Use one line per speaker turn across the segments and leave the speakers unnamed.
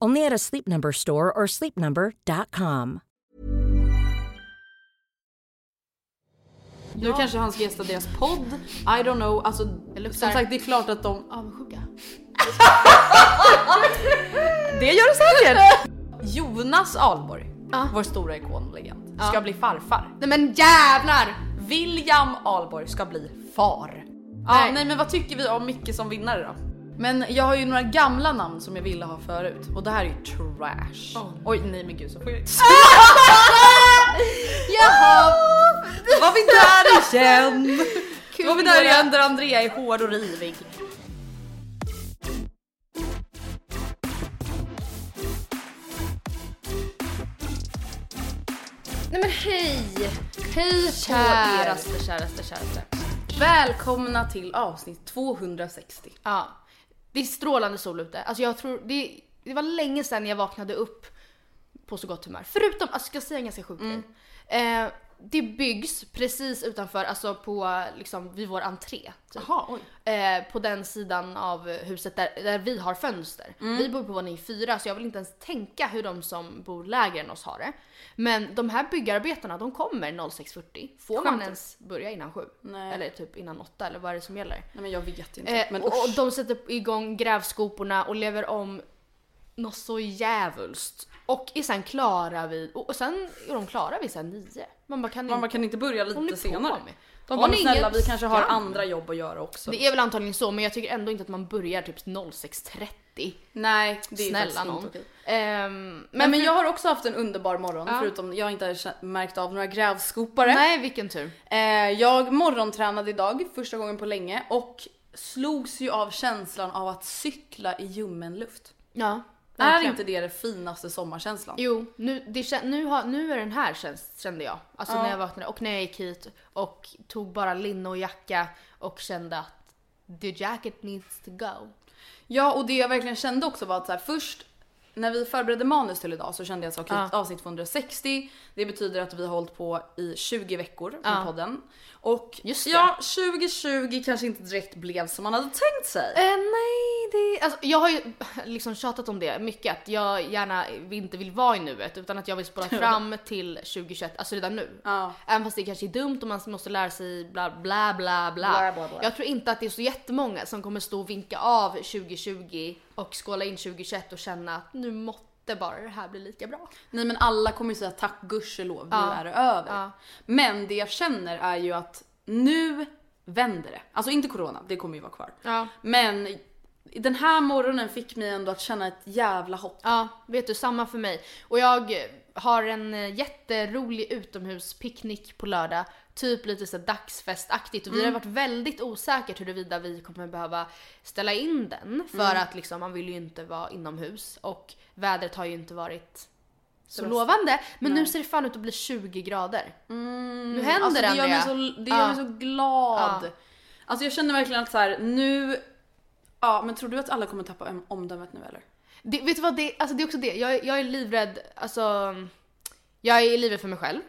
Only at a Sleep Number store or sleepnumber.com.
Nu kanske han ska gästa deras podd, I don't know, alltså som sagt det är klart att de avundsjuka. det gör det säkert! Jonas Ahlborg,
Ja.
vår stora ikon och legend,
Ja.
ska bli farfar.
Nej men jävlar!
William Ahlborg ska bli far. Nej.
Nej.
Ja, nej men vad tycker vi om Micke som vinnare då? Men jag har ju några gamla namn som jag ville ha förut och det här är ju trash. Oj nej men gud så får jag
Jaha!
Då var vi där igen! Då var vi där
Kul.
igen där Andrea är hård och rivig.
Nej men hej! Hej på er!
Käraste, käraste, käraste. Välkomna till avsnitt 260.
Ja. Det är strålande sol ute. Alltså jag tror, det, det var länge sedan jag vaknade upp på så gott humör. Förutom, alltså ska jag säga en ganska sjuk grej? Eh, det byggs precis utanför, alltså på liksom vid vår entré. Typ.
Jaha, oj.
Eh, på den sidan av huset där, där vi har fönster.
Mm.
Vi bor på våning fyra så jag vill inte ens tänka hur de som bor lägre än oss har det. Men de här byggarbetarna de kommer 06.40. Får man
Skämtar.
ens börja innan sju?
Nej.
Eller typ innan åtta eller vad är det som gäller?
Nej men jag vet inte.
Eh,
men
och och
usch.
de sätter igång grävskoporna och lever om något så djävulskt. Och är sen klara vid, och och sen är de klara vid sen nio. Man bara kan
Man bara,
inte-
kan ni inte börja
håller
lite
på
senare?
med?
De
Har
bara,
ni
men snälla
ingen
vi kanske har
skam?
andra jobb att göra också.
Det är väl antagligen så men jag tycker ändå inte att man börjar typ 06.30.
Nej, det är
Snälla
faktiskt
någon.
inte okej.
Ehm,
Men,
men
men
för-
jag har också haft en underbar morgon
Ja.
förutom jag har inte kä- märkt av några grävskopare.
Nej vilken tur.
Eh, jag morgontränade idag första gången på länge och slogs ju av känslan av att cykla i ljummen luft.
Ja.
Är
verkligen.
inte det den finaste sommarkänslan?
Jo, nu, det, kän- nu, har, nu är den här känns, kände jag. Alltså när jag vaknade och när jag gick hit och tog bara linne och jacka och kände att the jacket needs to go.
Ja, och det jag verkligen kände också var att så här, först när vi förberedde manus till idag så kände jag så okej,
Ja.
avsnitt 260. Det betyder att vi har hållit på i 20 veckor med
Ja.
podden. Och
Just det.
ja, 2020 kanske inte direkt blev som man hade tänkt sig.
Eh, nej, det... Alltså, jag har ju liksom tjatat om det mycket, att jag gärna inte vill vara i nuet utan att jag vill spola fram till 2021, alltså redan nu.
Ja.
Även fast det kanske är dumt och man måste lära sig bla bla bla bla.
Bla, bla, bla.
Jag tror inte att det är så jättemånga som kommer stå och vinka av 2020 och skåla in 2021 och känna att nu måtte bara det här bli lika bra.
Nej men alla kommer ju säga tack gudskelov,
Ja.
nu är det över.
Ja.
Men det jag känner är ju att nu vänder det. Alltså inte corona, det kommer ju vara kvar.
Ja.
Men den här morgonen fick mig ändå att känna ett jävla hopp.
Ja, vet du, samma för mig. Och jag har en eh, jätterolig utomhuspicknick på lördag. Typ lite så här dagsfestaktigt. Och vi
Mm.
har varit väldigt osäkert huruvida vi kommer behöva ställa in den. För
Mm.
att liksom, man vill ju inte vara inomhus. Och vädret har ju inte varit så
bästa.
lovande. Men nu ser det fan ut att bli 20 grader. nu händer
Alltså, det, gör mig
Andrea.
så, det
Ja.
gör mig så glad.
Ja.
Alltså jag känner verkligen att så här, nu... Ja, men tror du att alla kommer tappa om- omdömet nu eller?
Det, vet du vad, det, alltså det är också det. Jag, är- jag är livrädd, alltså... Jag är livrädd för mig själv.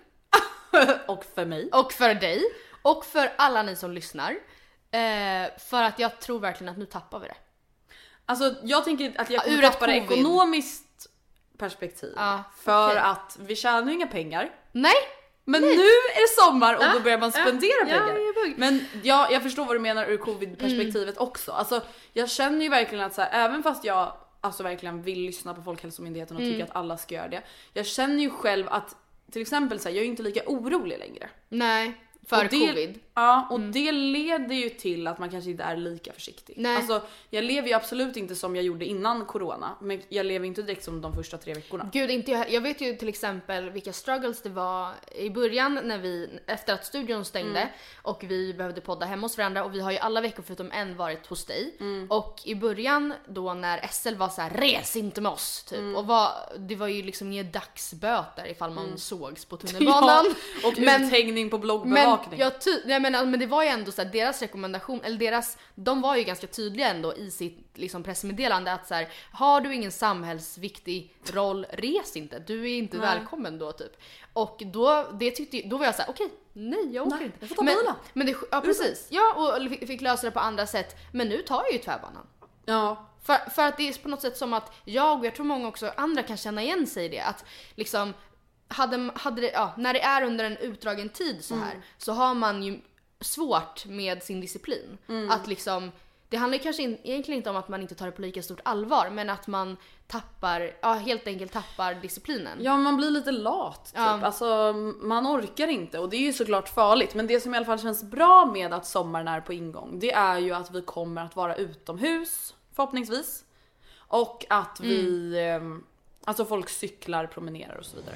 Och för mig.
Och för dig. Och för alla ni som lyssnar. Eh, för att jag tror verkligen att nu tappar vi det.
Alltså jag tänker att jag kommer
Ur ett
tappa det
covid.
ekonomiskt perspektiv.
Ja,
för
okej.
att vi tjänar ju inga pengar.
Nej!
Men nu är det sommar och då
Ja,
börjar man
ja,
spendera
ja,
pengar.
jag är bugg. Mm.
men ja, jag förstår vad du menar ur covid-perspektivet också. Alltså, jag känner ju verkligen att så här, även fast jag alltså, verkligen vill lyssna på Folkhälsomyndigheten och
Mm.
tycker att alla ska göra det. Jag känner ju själv att till exempel så här, jag är ju inte lika orolig längre.
Nej. För
Och det,
covid. Mm.
Ja, och det leder ju till att man kanske inte är lika försiktig.
Nej.
Alltså, jag lever ju absolut inte som jag gjorde innan corona, men jag lever inte direkt som de första tre veckorna.
Gud, inte jag, jag vet ju till exempel vilka struggles det var i början när vi, efter att studion stängde och vi behövde podda hemma hos varandra och vi har ju alla veckor förutom en varit hos dig. Och i början då när SL var så här res inte med oss typ och var, det var ju liksom inga dagsböter ifall man sågs på tunnelbanan.
Ja, och uthängning på
Men,
bloggbevakning.
jag ty- nej, men, alltså, men det var ju ändå så här, deras rekommendation, eller deras, de var ju ganska tydliga ändå i sitt liksom, pressmeddelande att så här, har du ingen samhällsviktig roll, res inte. Du är inte välkommen då typ. Och då, det tyckte, ju- då var jag så här: okej, nej jag åker
Nej,
inte.
jag får ta
men,
bilen.
men det, ja precis. Ja och f- fick lösa det på andra sätt. Men nu tar jag ju tvärbanan.
Ja,
För, för att det är på något sätt som att jag och jag tror många också andra kan känna igen sig i det. Att liksom, hade, hade det, ja, när det är under en utdragen tid så här så har man ju svårt med sin disciplin. Att liksom, det handlar ju kanske in, egentligen inte om att man inte tar det på lika stort allvar men att man tappar, ja helt enkelt tappar disciplinen.
Ja man blir lite lat typ.
Ja.
Alltså man orkar inte och det är ju såklart farligt. Men det som i alla fall känns bra med att sommaren är på ingång det är ju att vi kommer att vara utomhus förhoppningsvis. Och att vi, ehm, alltså folk cyklar, promenerar och så vidare.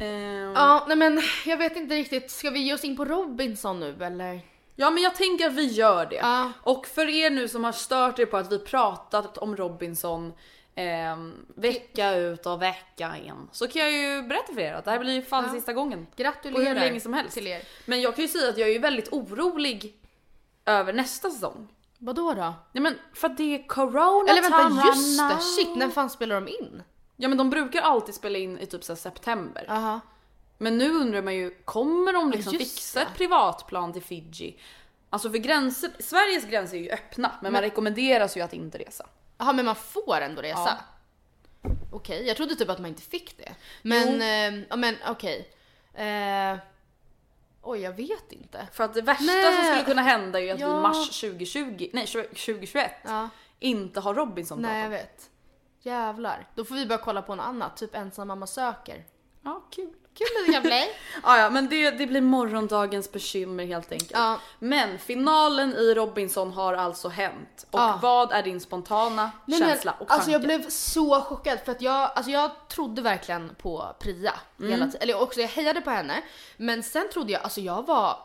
Ehm,
Ja, nej men jag vet inte riktigt, ska vi ge oss in på Robinson nu eller?
Ja men jag tänker att vi gör det.
Ja.
Och för er nu som har stört er på att vi pratat om Robinson ehm, vecka ut och vecka in. Så kan jag ju berätta för er att det här blir ju fan
Ja.
sista gången.
Gratulerar
På hur länge som helst.
till er.
Men jag kan ju säga att jag är ju väldigt orolig över nästa säsong.
Vadå då?
Nej men för att det är corona
Eller vänta
time
just
right
det,
now.
shit när fan spelar de in?
Ja men de brukar alltid spela in i typ så här september.
Aha.
Men nu undrar man ju, kommer de liksom
just
fixa
det.
ett privatplan till Fiji? Alltså för gränser, Sveriges gränser är ju öppna men, man
Men-
rekommenderas ju att inte resa.
Jaha men man får ändå resa? Okej, jag trodde typ att man inte fick det. Men, eh, ja men okej. Eh, oj jag vet inte.
För att det värsta
Nej.
som skulle kunna hända är ju att vi i
Ja.
mars 2020, nej 20- 2021
Ja.
inte har Robinson
Nej jag
pratat.
vet. Jävlar. Då får vi börja kolla på något annat, typ ensam mamma söker.
Ja kul.
Kul det kan bli.
Ah, ja, men det, det blir morgondagens bekymmer helt enkelt.
Ja.
Men finalen i Robinson har alltså hänt. Och
Ja.
vad är din spontana
Nej, men,
känsla och
Alltså jag
tanke?
blev så chockad för att jag, alltså jag trodde verkligen Mm. på Priya hela tiden. Eller också jag hejade på henne. Men sen trodde jag, alltså jag var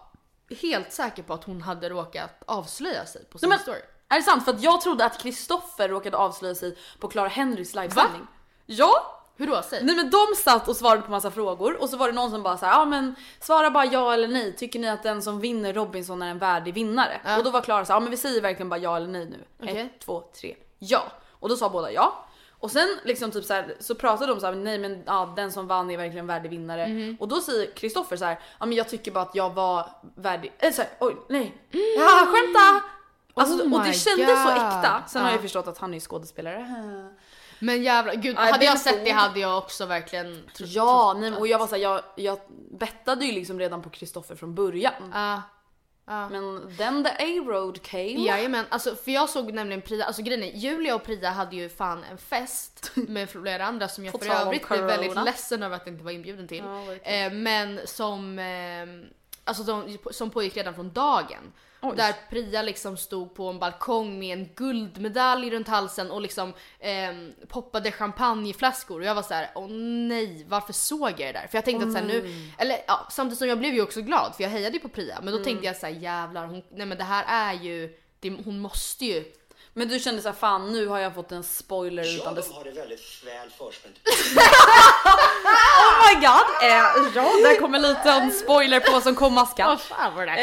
helt säker på att hon hade råkat avslöja sig på sin
Nej, men,
story.
är det sant? För att jag trodde att Kristoffer råkade avslöja sig på Clara Henrys livesändning. Ja!
Hur då? Säg.
Nej men de satt och svarade på massa frågor och så var det någon som bara så här, ja men svara bara ja eller nej. Tycker ni att den som vinner Robinson är en värdig vinnare? Och då var Klara så här, ja men vi säger verkligen bara ja eller nej nu.
Okej.
Ett, två, tre, ja. Och då sa båda ja. Och sen liksom typ så, här, så pratade de så här, nej men ja, den som vann är verkligen värdig vinnare.
Mhm.
Och då säger Kristoffer så här, ja men jag tycker bara att jag var värdig, eller så här, oj nej, ja, skämta! Alltså,
Mm. Oh
och det
my
kändes så
God.
äkta. Sen har jag
Ja.
ju förstått att han är skådespelare.
Men jävlar, gud
Nej,
hade
det är
jag sett
så-
det hade jag också verkligen trott.
Ja, nej, och jag var såhär, jag, jag bettade ju liksom redan på Kristoffer från början.
Ja.
Men then the A-road came.
Jajamän, alltså, för jag såg nämligen Priya, alltså grejen är, Julia och Priya hade ju fan en fest med flera andra som jag
På
för
tal om
övrigt blev väldigt
corona.
ledsen över att inte var inbjuden till.
Ja, verkligen.
eh, men som, eh, alltså, som, som pågick redan från dagen.
Oj.
Där Priya liksom stod på en balkong med en guldmedalj runt halsen och liksom eh, poppade champagneflaskor och jag var så här: åh nej varför såg jag det där? För jag tänkte att såhär nu, eller ja, samtidigt som jag blev ju också glad för jag hejade ju på Priya men då
Mm.
tänkte jag såhär jävlar hon, nej men det här är ju, det, hon måste ju.
Men du kände såhär, fan nu har jag fått en spoiler
Ja,
utan dess...
de har det väldigt väl förspänt.
Oh my god! Eh, ja, där kommer lite en spoiler på vad som komma skall.
fan var det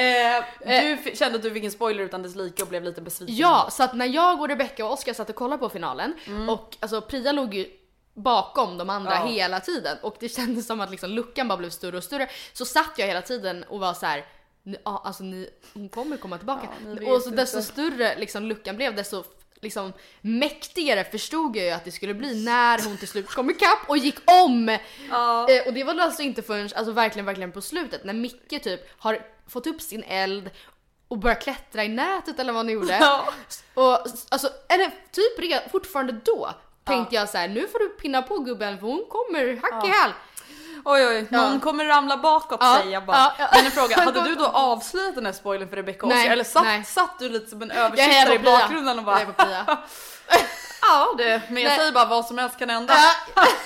Eh, du f- kände att du fick en spoiler utan dess like och blev lite besviken.
Ja, så att när jag och Rebecca och Oskar satt och kollade på finalen och alltså Priya låg ju bakom de andra
Mm. Ja.
hela tiden och det kändes som att liksom luckan bara blev större och större. Så satt jag hela tiden och var så här. "Ni- Ja, alltså ni, hon kommer komma tillbaka.
Ja, ni vet
och så
inte.
desto större liksom luckan blev desto liksom mäktigare förstod jag ju att det skulle bli när hon till slut kom ikapp och gick om!
Ja.
Eh, och det var alltså inte förrän, alltså verkligen, verkligen på slutet när Micke typ har fått upp sin eld och börjat klättra i nätet eller vad han gjorde.
Ja.
Och alltså, eller typ re- fortfarande då tänkte jag så här: nu får du pinna på gubben för hon kommer hack i häl.
Oj oj, någon
Ja.
kommer ramla bakåt
Ja,
säger jag bara.
ja, ja.
Men en fråga, hade du då avslöjat den här spoilern för Rebecca och
Nej,
Oscar? Eller satt,
nej.
satt du lite som en
Jag hejar
översittare i
på Pia.
bakgrunden och bara...
Jag hejar på Pia.
Ja du, men jag
Nej.
säger bara vad som helst kan hända.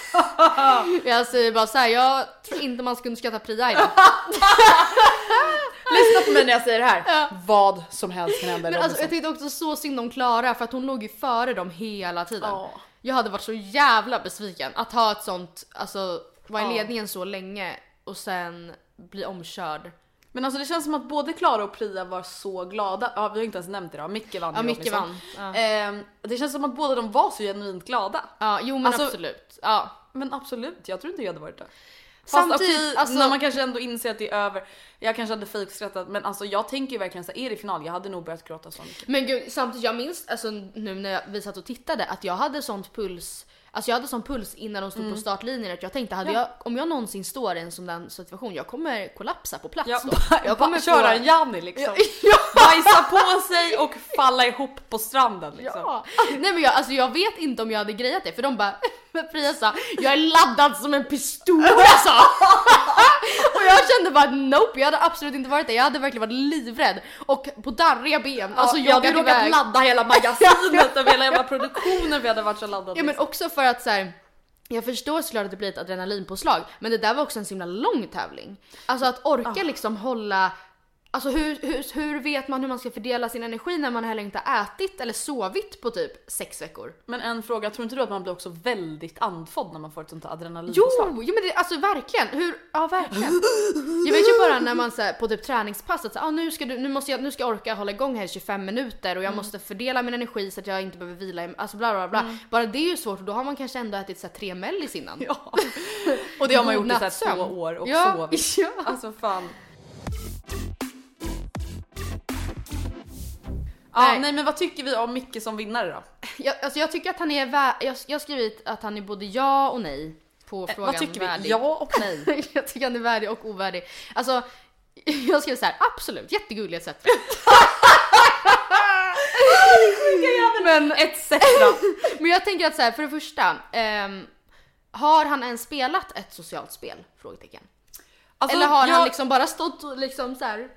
jag säger bara såhär, jag tror inte man ska underskatta Priya idag.
Lyssna på mig när jag säger det här. Vad som helst kan hända i
Men alltså,
Robinson.
jag tyckte också så synd om Klara för att hon låg ju före dem hela tiden.
Ja.
Jag hade varit så jävla besviken att ha ett sånt, alltså vara i
Ja.
ledningen så länge och sen bli omkörd.
Men alltså det känns som att både Klara och Priya var så glada. Ja, vi har inte ens nämnt det då. Micke vann
Ja,
i
Micke
Robinson.
vann. Ja.
Ehm, det känns som att båda de var så genuint glada.
Ja, jo men
Alltså,
absolut. Ja.
Men absolut, jag tror inte jag hade varit det. Fast
Samtidigt,
okej,
alltså-
när man kanske ändå inser att det är över. Jag kanske hade fejkskrattat men alltså jag tänker ju verkligen så här, är det final? Jag hade nog börjat gråta så mycket.
Men gud, samtidigt jag minns alltså, nu när jag- vi satt och tittade att jag hade sånt puls Alltså jag hade sån puls innan de stod
Mm.
på startlinjen att jag tänkte hade jag, om jag någonsin står i en sån där situation, jag kommer kollapsa på plats
Jag,
då. Jag
bara
kommer
köra
få-
en Janni liksom. Bajsa på sig och falla ihop på stranden liksom.
Ja. Nej men jag, alltså jag vet inte om jag hade grejat det för de bara men Priya sa jag är laddad som en pistol alltså. Och jag kände bara nope jag hade absolut inte varit det, jag hade verkligen varit livrädd och på darriga ben. alltså
jag hade råkat
iväg.
ladda hela magasinet och hela jävla produktionen vi hade varit så laddade.
Ja men också för att så här. Jag förstår såklart att det blir ett adrenalinpåslag, men det där var också en så himla lång tävling. Alltså att orka liksom hålla... Alltså hur, hur, hur vet man hur man ska fördela sin energi när man heller inte har ätit eller sovit på typ sex veckor?
Men en fråga, tror inte du att man blir också väldigt andfådd när man får ett sånt här
Jo!
adrenalinpåslag?
Jo men det, alltså verkligen! Hur, ja verkligen. Jag vet ju bara när man så här, på typ träningspass att så här, ah, nu, ska du, nu, måste jag, nu ska jag orka hålla igång här i 25 minuter och jag måste fördela min energi så att jag inte behöver vila, i- alltså bla bla bla. Bara det är ju svårt och då har man kanske ändå ätit så här, tre mellis innan.
Ja. Och det har man gjort i så här
Nattsömn.
två år och
Ja,
sovit.
ja.
Alltså fan. Ja,
Nej.
nej. men vad tycker vi om Micke som vinnare då?
Jag, alltså, jag tycker att han är vä- jag, jag har skrivit att han är både ja och nej på
Eh,
frågan
vad tycker vi?
värdig.
Ja och nej.
jag tycker han är värdig och ovärdig. Alltså jag skrev så här, absolut, jättegullig etc.
men etc.
Men jag tänker att så här, för det första, ehm, har han ens spelat ett socialt spel? Frågetecken.
Alltså,
Eller har han
jag-
liksom bara stått och liksom så här.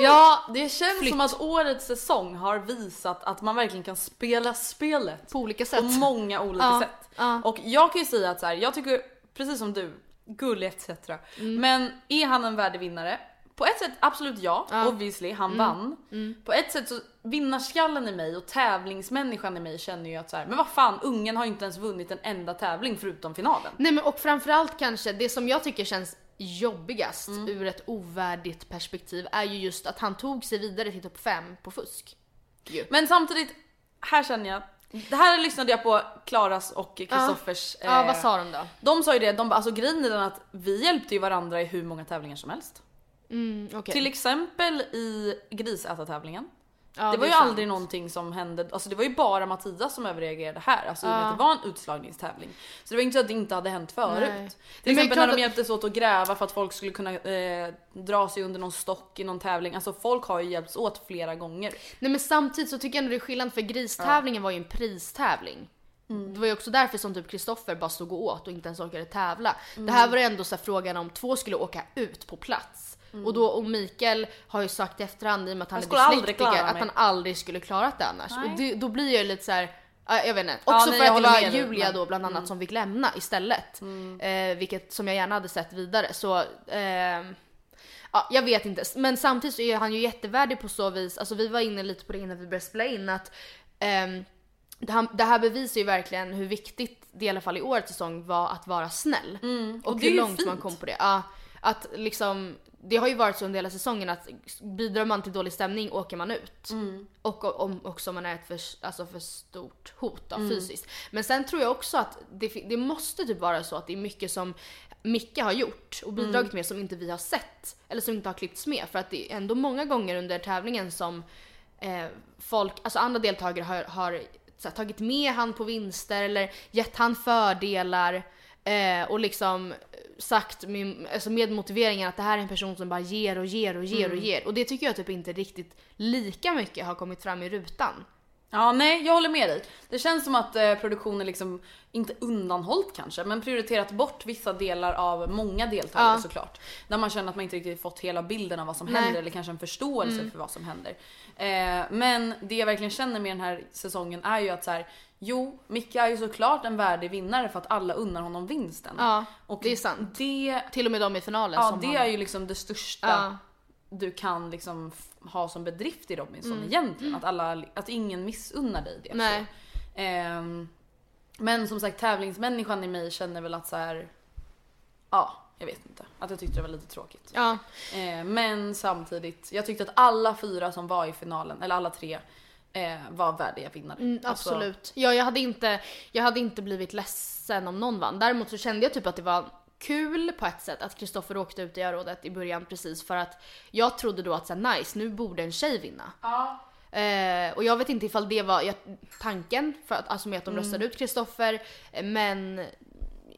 Ja, det känns som att årets säsong har visat att man verkligen kan spela spelet
På olika sätt.
på många olika
Ja,
sätt.
ja.
Och jag kan ju säga
Mm.
att så här, jag tycker precis som du, gullig etc. Men är han en värdig vinnare? på ett sätt absolut ja, obviously han
Mm.
vann. På ett sätt så vinnarskallen i mig och tävlingsmänniskan i mig känner ju att så här, men vad fan ungen har ju inte ens vunnit en enda tävling förutom finalen.
Nej men och framförallt kanske det som jag tycker känns jobbigast
Mm.
ur ett ovärdigt perspektiv är ju just att han tog sig vidare till topp 5 på fusk.
Men samtidigt, här känner jag, det här lyssnade jag på Klaras och Kristoffers eh,
Ja vad sa de då?
De sa ju det, de bara, alltså grejen är den att vi hjälpte ju varandra i hur många tävlingar som helst.
Mm, okej.
Till exempel i grisätartävlingen.
Ja,
det var
är
ju
sant.
aldrig någonting som hände, alltså det var ju bara Mattias som överreagerade här. Alltså i och med att det var en utslagningstävling. Så det var inte så att det inte hade hänt förut.
Nej. Nej,
Till
men
exempel när
klart
de
att-
hjälptes åt att gräva för att folk skulle kunna eh, dra sig under någon stock i någon tävling. Alltså folk har ju hjälpts åt flera gånger.
Nej men samtidigt så tycker jag ändå det är skillnad för gristävlingen var ju en pristävling.
Mm.
Det var ju också därför som typ Kristoffer bara stod och åt och inte ens orkade tävla. Det
Mm.
här var ju ändå så här frågan om två skulle åka ut på plats. Och då och Mikael har ju sagt i efterhand i och med att han
Jag Mm. skulle
är
aldrig
dyslektiker
klara
att
mig.
han aldrig skulle klarat det annars.
Nej.
Och det, då blir jag ju lite så här. ja, Jag vet inte.
Ja,
Också
nej,
för
jag
att
håller
det var
med dig, Mm.
Julia
men-
då bland annat som fick lämna istället. Eh, vilket som jag gärna hade sett vidare. Så ehm, Ja, jag vet inte. Men samtidigt så är han ju jättevärdig på så vis, alltså vi var inne lite på det innan vi började spela in att ehm, det, här, det här bevisar ju verkligen hur viktigt det i alla fall i årets säsong var att vara snäll. och
Mm. det är
hur
ju
långt man
fint.
kom på det. Ja, att liksom, det har ju varit så under hela säsongen att bidrar man till dålig stämning åker man ut.
Mm.
Och om, också om man är ett för, alltså för stort hot då,
Mm.
fysiskt. Men sen tror jag också att det, fi- det måste typ vara så att det är mycket som Micke har gjort
Mm.
och bidragit med som inte vi har sett. Eller som inte har klippts med. För att det är ändå många gånger under tävlingen som eh, folk, alltså andra deltagare har, har så här, tagit med han på vinster eller gett han fördelar. Eh, och liksom sagt med, alltså med motiveringen att det här är en person som bara ger och ger och ger
Mm.
och ger. Och det tycker jag typ inte riktigt lika mycket har kommit fram i rutan.
Ja, nej, jag håller med dig. Det känns som att eh, produktionen liksom, inte undanhållit kanske, men prioriterat bort vissa delar av många deltagare
Ja.
såklart. Där man känner att man inte riktigt fått hela bilden av vad som
Nej. Mm.
händer eller kanske en förståelse för vad som händer. Eh, men det jag verkligen känner med den här säsongen är ju att så här, jo, Micke är ju såklart en värdig vinnare för att alla unnar honom vinsten.
Ja,
Och
det är sant.
Det,
Till och med de i finalen
ja,
som
det
han-
är ju liksom det största
Ja.
du kan liksom f- ha som bedrift i Robinson egentligen. Att, alla, att ingen missunnar dig det.
Mm. Nej.
Så. Ehm, men som sagt tävlingsmänniskan i mig känner väl att så här. ja jag vet inte. Att jag tyckte det var lite tråkigt.
Ja.
Eh, men samtidigt, jag tyckte att alla fyra som var i finalen, eller alla tre, eh, var värdiga vinnare.
Mm,
Alltså,
absolut. Ja, jag, hade inte, jag hade inte blivit ledsen om någon vann. Däremot så kände jag typ att det var kul på ett sätt att Kristoffer åkte ut i örådet i början precis för att jag trodde då att så här, nice, nu borde en tjej vinna. Eh, och jag vet inte ifall det var jag, tanken, för att, alltså med att de röstade ut Kristoffer, eh, men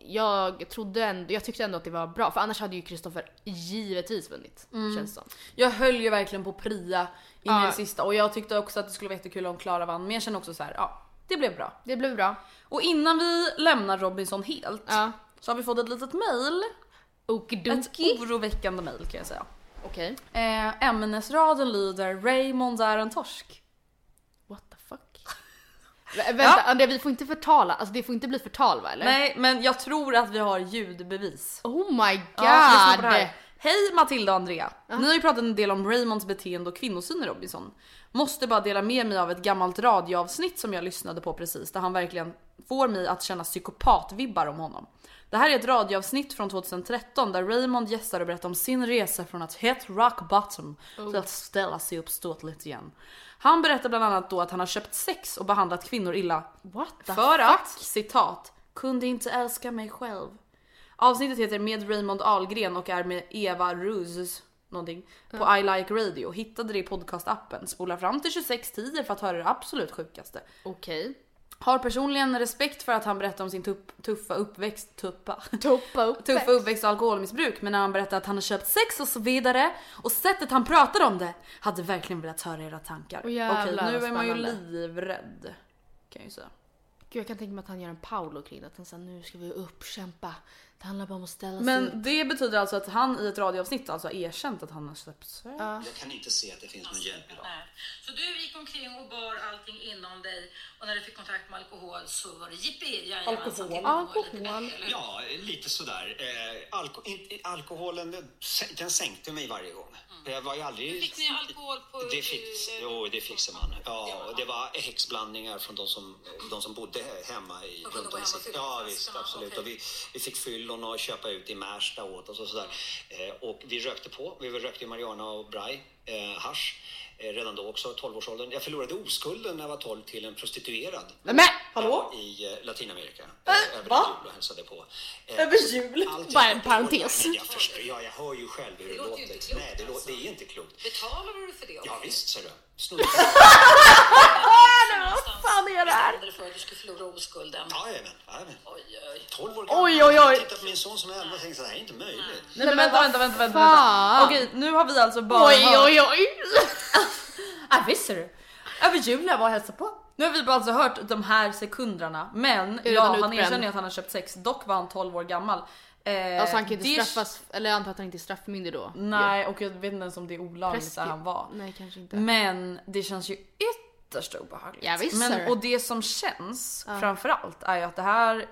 jag trodde ändå, jag tyckte ändå att det var bra för annars hade ju Kristoffer givetvis vunnit. Känns det som.
Jag höll ju verkligen på Priya i
Ja.
min sista och jag tyckte också att det skulle vara jättekul om Klara vann. Men jag känner också så här, ja, det blev bra.
Det blev bra.
Och innan vi lämnar Robinson helt
Ja.
så har vi fått ett litet mail. Ett
Okidoki.
oroväckande mail kan jag säga.
Okej.
Eh, ämnesraden lyder Raymond är en torsk.
What the fuck? Vä- Vänta Andrea, vi får inte förtala, alltså det får inte bli förtal va eller?
Nej men jag tror att vi har ljudbevis.
Oh my god!
Ja, lyssna på det här. Hej Matilda och Andrea. Ni har ju pratat en del om Raymonds beteende och kvinnosyn i Robinson. Måste bara dela med mig av ett gammalt radioavsnitt som jag lyssnade på precis där han verkligen får mig att känna psykopatvibbar om honom. Det här är ett radioavsnitt från 2013 där Raymond gästar och berättar om sin resa från att hit rock bottom till att ställa sig uppståtligt igen. Han berättar bland annat då att han har köpt sex och behandlat kvinnor illa.
What the
för
fuck?
att, citat, kunde inte älska mig själv. Avsnittet heter Med Raymond Ahlgren och är med Eva Ruz någonting på I Like Radio. Hittade det i podcastappen. Spolar fram till 26.10 för att höra det absolut sjukaste.
Okej.
Har personligen respekt för att han berättar om sin tupp, tuffa uppväxt, tuppa.
Toppa upp
Tuffa uppväxt och alkoholmissbruk men när han berättar att han har köpt sex och så vidare och sättet han pratar om det hade verkligen velat höra era tankar.
Åh, jävlar,
Okej
vad
nu är man ju
spännande.
livrädd. Kan jag ju säga.
Gud jag kan tänka mig att han gör en Paolo kring det, att han säger nu ska vi uppkämpa Det handlar bara om att ställa sig upp.
Men det betyder alltså att han i ett radioavsnitt alltså har erkänt att han har släppt sig.
Jag kan inte se att det finns någon hjälp idag.
Nej. Så du gick omkring och bar allting inom dig och när du fick kontakt med alkohol så var det jippi, jajamensan. till
Alkohol.
lite bättre, eller hur?
Ja, lite sådär. Eh, alko inte- alkoholen den sä- den sänkte mig varje gång. Jag var ju aldrig...
Mm. Fick ni alkohol på...
Det fix,
ur-
jo, det fixar man. Ja, och det var häxblandningar från de som, de som bodde hemma i...
kunde gå hem och
i-
fylla
ja,
flaskorna,
visst, absolut.
okej.
Och vi, vi fick fyllon och köpa ut i Märsta åt oss och sådär. Eh, och vi rökte på. Vi rökte ju marijuana och braj, eh, hasch. Eh, redan då också, 12-årsåldern. Jag förlorade oskulden när jag var 12 till en prostituerad.
Nej men hallå? Äh,
I eh, Latinamerika. Eh, över
va?
jul och hälsade på. Eh,
Över jul?
allting-
Bara en parentes.
Jag, förstår, ja, jag hör ju själv hur det,
låter
låter.
ju inte klokt,
Nej, det, låter, det är inte klokt.
Betalade du för det?
Ja
också?
visst ser du. Snodde.
Vad fan är det här?
Betalade du för att du skulle förlora oskulden?
Jajamän, jajamän.
Oj, oj.
12 år
Oj,
gammal.
oj, oj.
Jag tittar på min son som är 11 och tänker så här, det här är inte möjligt.
Nej men vänta vänta vänta vänta.
fan?
vänta. Okej nu har vi alltså bara
Oj
hört-
oj oj!
Ja visst ser du. Över jul jag var och hälsade på. Nu har vi bara alltså hört de här sekunderna men ja, han
redan utbränd?
erkänner ju att han har köpt sex, dock var han 12 år gammal. Eh,
Alltså han kan inte
det är-
straffas, eller jag antar att han inte är straffmyndig då.
Nej och jag vet inte ens om det är olagligt där
Preskri-
han var.
Nej, kanske inte.
Men det känns ju ytterst obehagligt.
Ja, visst är
Men,
det.
och det som känns framförallt är ju att det här,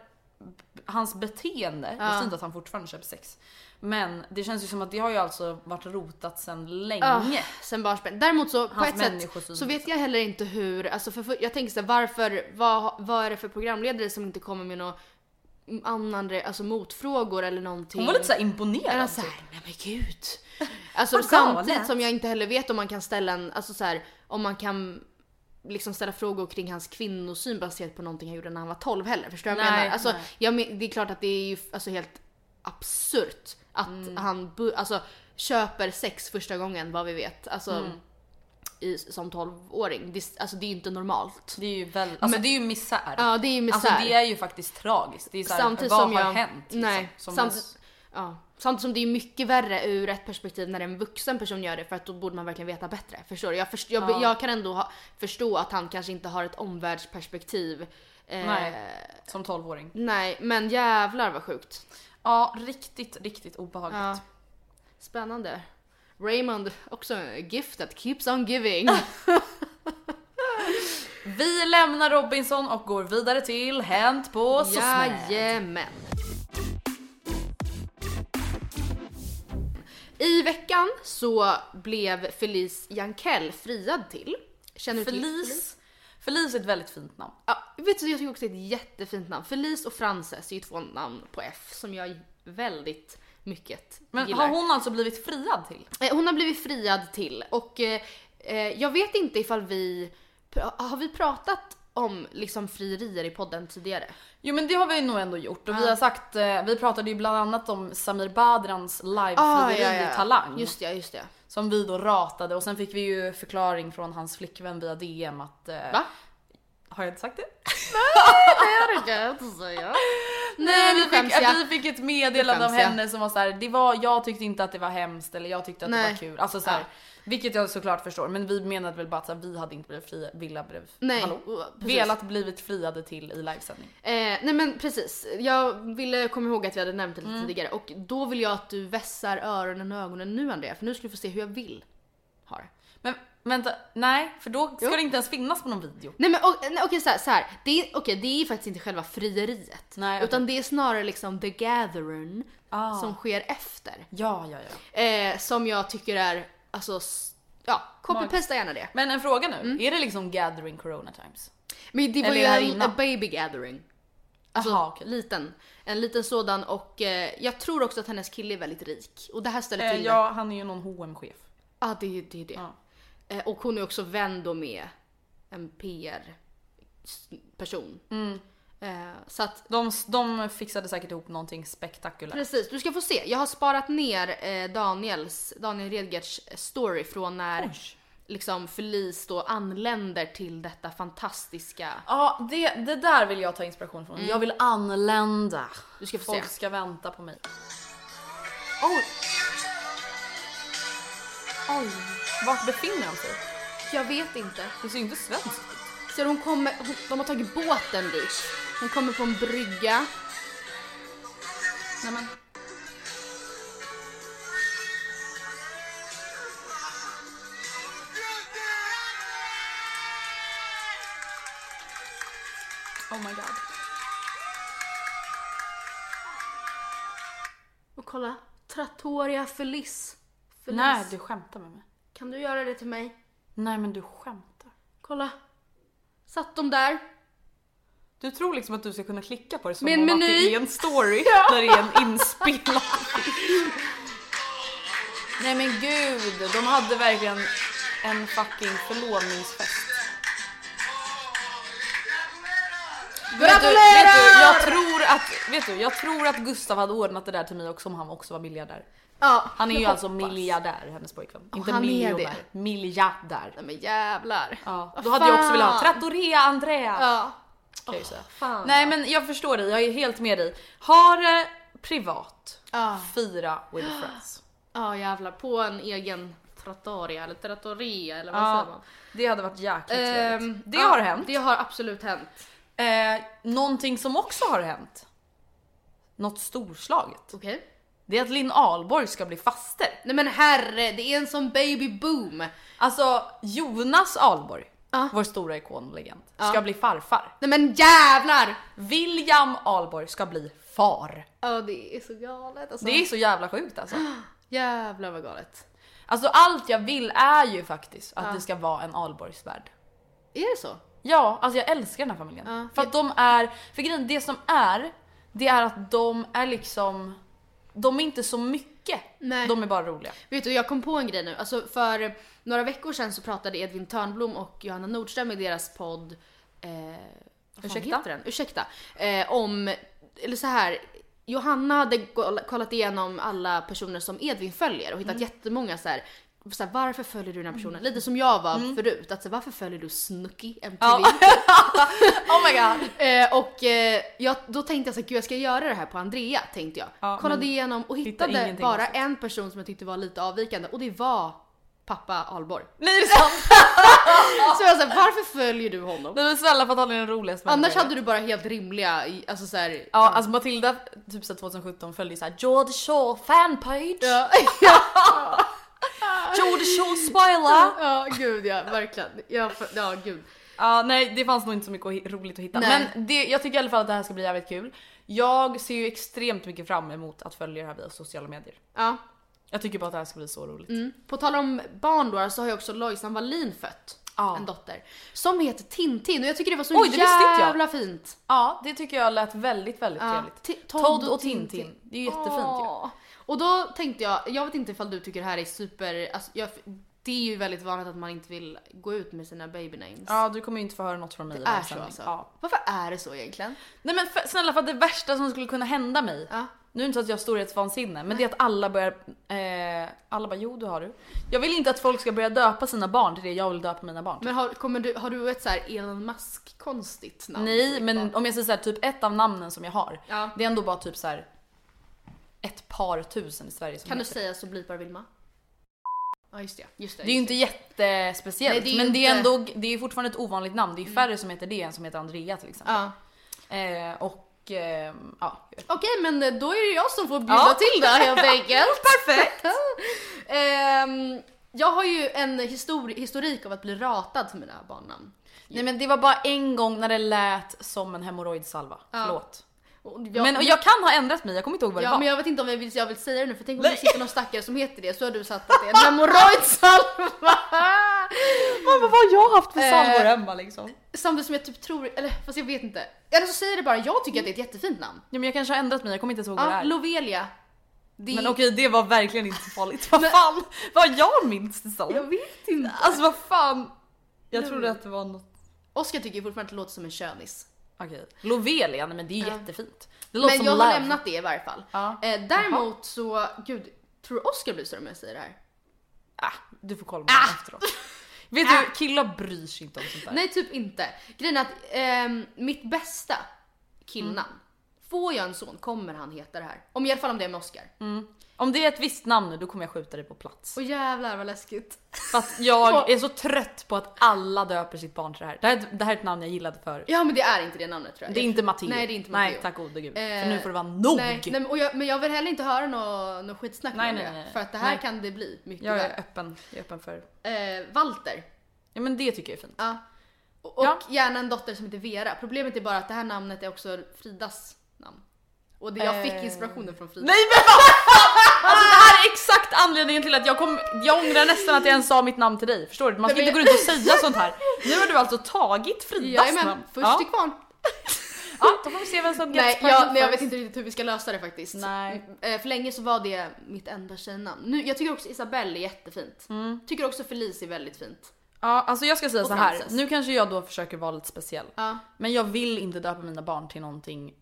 hans beteende, jag säger inte att han fortfarande köper sex. Men det känns ju som att det har ju alltså varit rotat sedan länge.
Ah, sen barnsben. Däremot så på
Hans
ett sätt
människosyn,
så vet
liksom.
jag heller inte hur, alltså för, för, jag tänker såhär varför, vad, vad är det för programledare som inte kommer med någon annan, re- alltså motfrågor eller någonting.
Hon var lite såhär
Eller
imponerad. typ.
såhär, nej men gud. Alltså
Vad
samtidigt
galet.
som jag inte heller vet om man kan ställa en, alltså såhär, om man kan liksom ställa frågor kring hans kvinnosyn baserat på någonting han gjorde när han var 12 heller. Förstår du vad jag
Nej,
menar? Alltså,
nej.
jag men, det är klart att det är ju alltså, helt absurt att
Mm.
han bu- alltså, köper sex första gången vad vi vet. Alltså,
Mm.
i, som 12-åring. Det, alltså, det är ju inte normalt.
Det är ju väl, alltså det är ju misär.
Ja, det är ju misär.
Alltså det är ju faktiskt tragiskt. Det är så här,
Samtidigt
vad
som
har
jag,
hänt? liksom?
Nej,
Som
samtidigt, ja, samtidigt som det är mycket värre ur ett perspektiv när en vuxen person gör det för att då borde man verkligen veta bättre. Förstår du? Jag, först, jag, jag kan ändå ha, förstå att han kanske inte har ett omvärldsperspektiv. Eh,
nej, som 12-åring.
nej, men jävlar vad sjukt.
Ja, riktigt, riktigt obehagligt.
Ja. Spännande. Raymond, också en gift that keeps on giving.
Vi lämnar Robinson och går vidare till Hänt på SOSMED.
Jajamän. I veckan så blev Felice Jankell friad till. Känner du till
Felice. Felice är ett väldigt fint namn.
Ja, vet du, jag tycker också det är ett jättefint namn. Felice och Frances är ju två namn på F som jag väldigt mycket
Men
gillar.
har hon alltså blivit friad till?
Eh, Hon har blivit friad till och eh, eh, jag vet inte ifall vi... pr- Har vi pratat om liksom frierier i podden tidigare?
Jo men det har vi nog ändå gjort och vi har sagt, eh, vi pratade ju bland annat om Samir Badrans live i Talang.
Just det, ja, just det.
Som vi då ratade och sen fick vi ju förklaring från hans flickvän via DM att... Eh,
Va?
Har jag inte sagt det?
Herregud, så ja.
Nej,
nu
vi
skäms
fick, att
jag.
vi fick ett meddelande
Nu
av
skäms jag.
henne som var så här, det var, jag tyckte inte att det var hemskt eller jag tyckte att det
Nej.
var kul. Alltså så här,
Ja.
Vilket jag såklart förstår men vi menade väl bara att så här, vi hade inte blivit fria, villa blivit,
Nej,
hallå,
precis.
velat blivit friade till i livesändning.
Eh, nej men precis, jag ville komma ihåg att vi hade nämnt det
Mm.
lite tidigare och då vill jag att du vässar öronen och ögonen nu Andrea för nu ska du få se hur jag vill ha det.
Men vänta, nej för då ska
Jo.
det inte ens finnas på någon video.
Nej men och, nej, okej så här, så här. Det, är, okej, det är faktiskt inte själva frieriet
Nej, okej.
utan det är snarare liksom the gathering
Ah.
som sker efter.
Ja, ja, ja.
Eh, som jag tycker är, alltså s- ja, copy-pasta gärna det.
Men en fråga nu, är det liksom gathering corona times?
Men det var
Eller
ju
här
en,
innan.
en baby gathering. Alltså,
Aha, okej.
liten. En liten sådan och eh, jag tror också att hennes kille är väldigt rik. Och det här ställer
Eh,
till det.
ja, han är ju någon hm chef
Ja, det är det. Är det.
Ja.
Eh, och hon är också vän då med en PR-person.
Mm.
Eh, så att
De, de fixade säkert ihop någonting spektakulärt.
precis, du ska få se. Jag har sparat ner eh, Daniels, Daniel Redgerts story från när liksom Felice då anländer till detta fantastiska.
Ja, det, det där vill jag ta inspiration från. Jag vill anlända.
Du ska få
Folk
se.
ska vänta på mig. Oj! Oj, vart befinner de sig?
Jag vet inte.
Det ser ju inte svenskt ut.
Ser du, hon kommer, hon, de har tagit båten dit. Hon kommer på en brygga. Nej, men. Oh my god. Och kolla. Trattoria Feliz. Feliz.
Nej, du skämtar med mig.
Kan du göra det till mig?
Nej, men du skämtar.
Kolla. Satt de där.
Du tror liksom att du ska kunna klicka på det som
Med en
om att
meny.
det är en story när det är en inspelad film. Nej men gud, de hade verkligen en fucking förlovningsfest. Vet du, vet du, jag tror att, vet du, jag tror att Gustav hade ordnat det där till mig också om han också var miljardär.
Ja,
Han är ju
jag
alltså
hoppas.
miljardär, hennes pojkvän. Inte
han är
miljonär,
det.
miljardär.
Nej men jävlar.
Ja,
Vad
då hade jag också
fan.
velat ha Trattoria Andrea.
Ja.
kan jag ju säga.
fan.
Nej men jag förstår dig, jag är helt med dig. Ha det privat.
Ja.
Fira with friends.
ja jävlar. På en egen trattoria eller trattoria eller vad
Ja,
säger man?
det hade varit jäkligt
Ehm,
trevligt. Det
ja,
har hänt.
Det har absolut hänt.
Eh, någonting som också har hänt. Något storslaget.
Okej.
Det är att Linn Ahlborg ska bli faster.
Nej men herre, det är en sån baby boom.
Alltså Jonas Ahlborg,
Ja.
vår stora ikon och legend, ska bli farfar.
Nej men jävlar!
William Ahlborg ska bli far.
Ja det är så galet alltså.
Det är så jävla sjukt alltså.
Jävlar vad galet.
Alltså allt jag vill är ju faktiskt att det ska vara en Ahlborgsvärld.
Är det så?
Ja, alltså jag älskar den här familjen.
Ja.
För att de är, för grejen, det som är, det är att de är liksom, de är inte så mycket.
Nej.
De är bara roliga.
Vet du, jag kom på en grej nu. Alltså för några veckor sedan så pratade Edvin Törnblom och Johanna Nordström i deras podd eh, vad fan
Ursäkta?
heter den? Ursäkta. Eh, om, eller så här. Johanna hade go- kollat igenom alla personer som Edvin följer och hittat jättemånga så här. Så här, varför följer du den här personen? Lite som jag var förut, att så här, varför följer du Snooki MTV?
Oh my god!
Eh, och eh, jag, då tänkte jag så här, gud jag ska göra det här på Andrea tänkte jag.
Ja,
Kollade
men
igenom och
hittar
hittade
ingenting
bara
avsnitt.
en person som jag tyckte var lite avvikande och det var pappa Alborg.
Nej det är sant!
Så jag sa varför följer du honom?
Nej men snälla för att han är den roligaste
Annars
människan.
hade du bara helt rimliga, i- alltså så här,
Ja alltså Matilda typ så här 2017 följde ju såhär George Shaw fanpage,
ja.
George Shaw spoiler.
ja gud ja, verkligen. Ja, för, ja gud.
Ja, nej det fanns nog inte så mycket hi- roligt att hitta.
Nej.
Men det, jag tycker i alla fall att det här ska bli jävligt kul. Jag ser ju extremt mycket fram emot att följa det här via sociala medier.
Ja.
Jag tycker bara att det här ska bli så roligt.
På tal om barn då så har ju också Lojsan Wallin fött
Ja.
en dotter. Som heter Tintin och jag tycker det var så
Oj, det visste inte jag.
jävla fint.
Ja, det tycker jag lät väldigt, väldigt trevligt.
Ti-
Todd, och Tintin. Det är ju jättefint ju.
Ja. Och då tänkte jag, jag vet inte ifall du tycker det här är super, alltså jag, det är ju väldigt vanligt att man inte vill gå ut med sina baby names.
Ja, du kommer ju inte få höra något från mig. i
Det
den här
är så
sändningen.
alltså.
Ja.
Varför är det så egentligen?
Nej men för, snälla för att det värsta som skulle kunna hända mig.
Ja.
Nu är det inte så att jag har storhetsvansinne men det är att alla börjar, eh, alla bara jo du har du. Jag vill inte att folk ska börja döpa sina barn till det jag vill döpa mina barn till.
Men har, kommer du, har du ett så här Elon Musk konstigt namn? på
Nej,
ditt
men
barn?
om jag säger så här, typ ett av namnen som jag har,
Ja.
det är ändå bara typ så här ett par tusen i Sverige. Som
Kan du
heter.
säga så blipar Vilma? Ja just det. Just det,
Det är ju
just
inte jättespeciellt,
Nej, det är ju
men det är
inte-
ändå, det är ju fortfarande ett ovanligt namn. Det är ju färre som heter det än som heter Andrea till exempel.
Ja.
Eh, och ehm, ja.
Okej men då är det jag som får bjuda
Ja.
till det helt enkelt. Perfekt! Ehm, jag har ju en histori- historik av att bli ratad för mina barnnamn.
Nej men det var bara en gång när det lät som en hemorrojdsalva. Förlåt.
Och jag-
Men och jag kan ha ändrat mig, jag kommer inte ihåg vad det
Ja
var.
men jag vet inte om jag vill, jag vill säga det nu för tänk om
Nej.
det sitter någon stackare som heter det så har du satt att det är en hemorrojdsalva!
men vad har jag haft för
salvor
hemma liksom? Ja
Samtidigt som jag typ tror, eller fast jag vet inte. Eller så säger det bara, jag tycker att det är ett jättefint namn.
men jag kanske har ändrat mig, jag kommer inte ens ihåg vad det
Ja,
är.
Lovelia. Det är,
Men okej det var verkligen inte så farligt. Vad fan? Vad jag minns det som.
Jag vet inte.
Alltså vad fan. Jag trodde att det var något.
Oskar tycker fortfarande att det låter som en könis.
Okej. Lovelia, nej men det är jättefint. Det låter
Men
som
jag
love.
har lämnat det i varje fall.
Ja.
Eh, däremot så, gud, tror Oskar blir större om jag säger det här?
Ah, du får kolla på det efteråt. Ah. Vet du, killar bryr sig inte om sånt där. Mm.
Nej typ inte. Grejen är att ehm, mitt bästa killnamn Får jag en son kommer han heta det här. Om i alla fall om det är med Oscar.
Mm. Om det är ett visst namn nu då kommer jag skjuta dig på plats.
Och jävlar vad läskigt.
För att jag är så trött på att alla döper sitt barn till det här. Det här, det här är ett namn jag gillade förut.
Ja men det är inte det namnet tror jag.
Det är inte Matteo.
Nej det är inte Matteo.
Nej tack gode gud.
Eh,
För nu får det vara nog!
Nej, nej, men- och jag, men jag vill heller inte höra något nå skitsnack
Nej,
om
nej,
det.
nej, nej.
För att det här
Nej.
kan det bli mycket
jag är
värre.
öppen, jag är öppen för...
Eh, Walter.
Ja men det tycker jag är fint.
Ja. Och, och
Ja.
gärna en dotter som heter Vera. Problemet är bara att det här namnet är också Fridas namn. Och det, jag fick inspirationen från Frida.
Eh, Nej men vad fan!
Ah!
Alltså det här är exakt anledningen till att jag kom... Jag ångrar nästan att jag ens sa mitt namn till dig. Förstår du? Man ska
Nej,
inte
men-
gå runt och säga sånt här. Nu har du alltså tagit Fridas
Jajamän,
namn.
först
Ja.
till kvarn.
ja, då får vi se vem som gets
Nej
present
jag, nej, jag
first.
vet inte riktigt hur vi ska lösa det faktiskt.
Nej.
Eh, För länge så var det mitt enda tjejnamn. Nu, jag tycker också Isabelle är jättefint.
Mm.
Tycker också Felice är väldigt fint.
Ja, alltså jag ska säga
Och
så här.
Frances.
Nu kanske jag då försöker vara lite speciell.
Ja.
Men jag vill inte döpa mina barn till någonting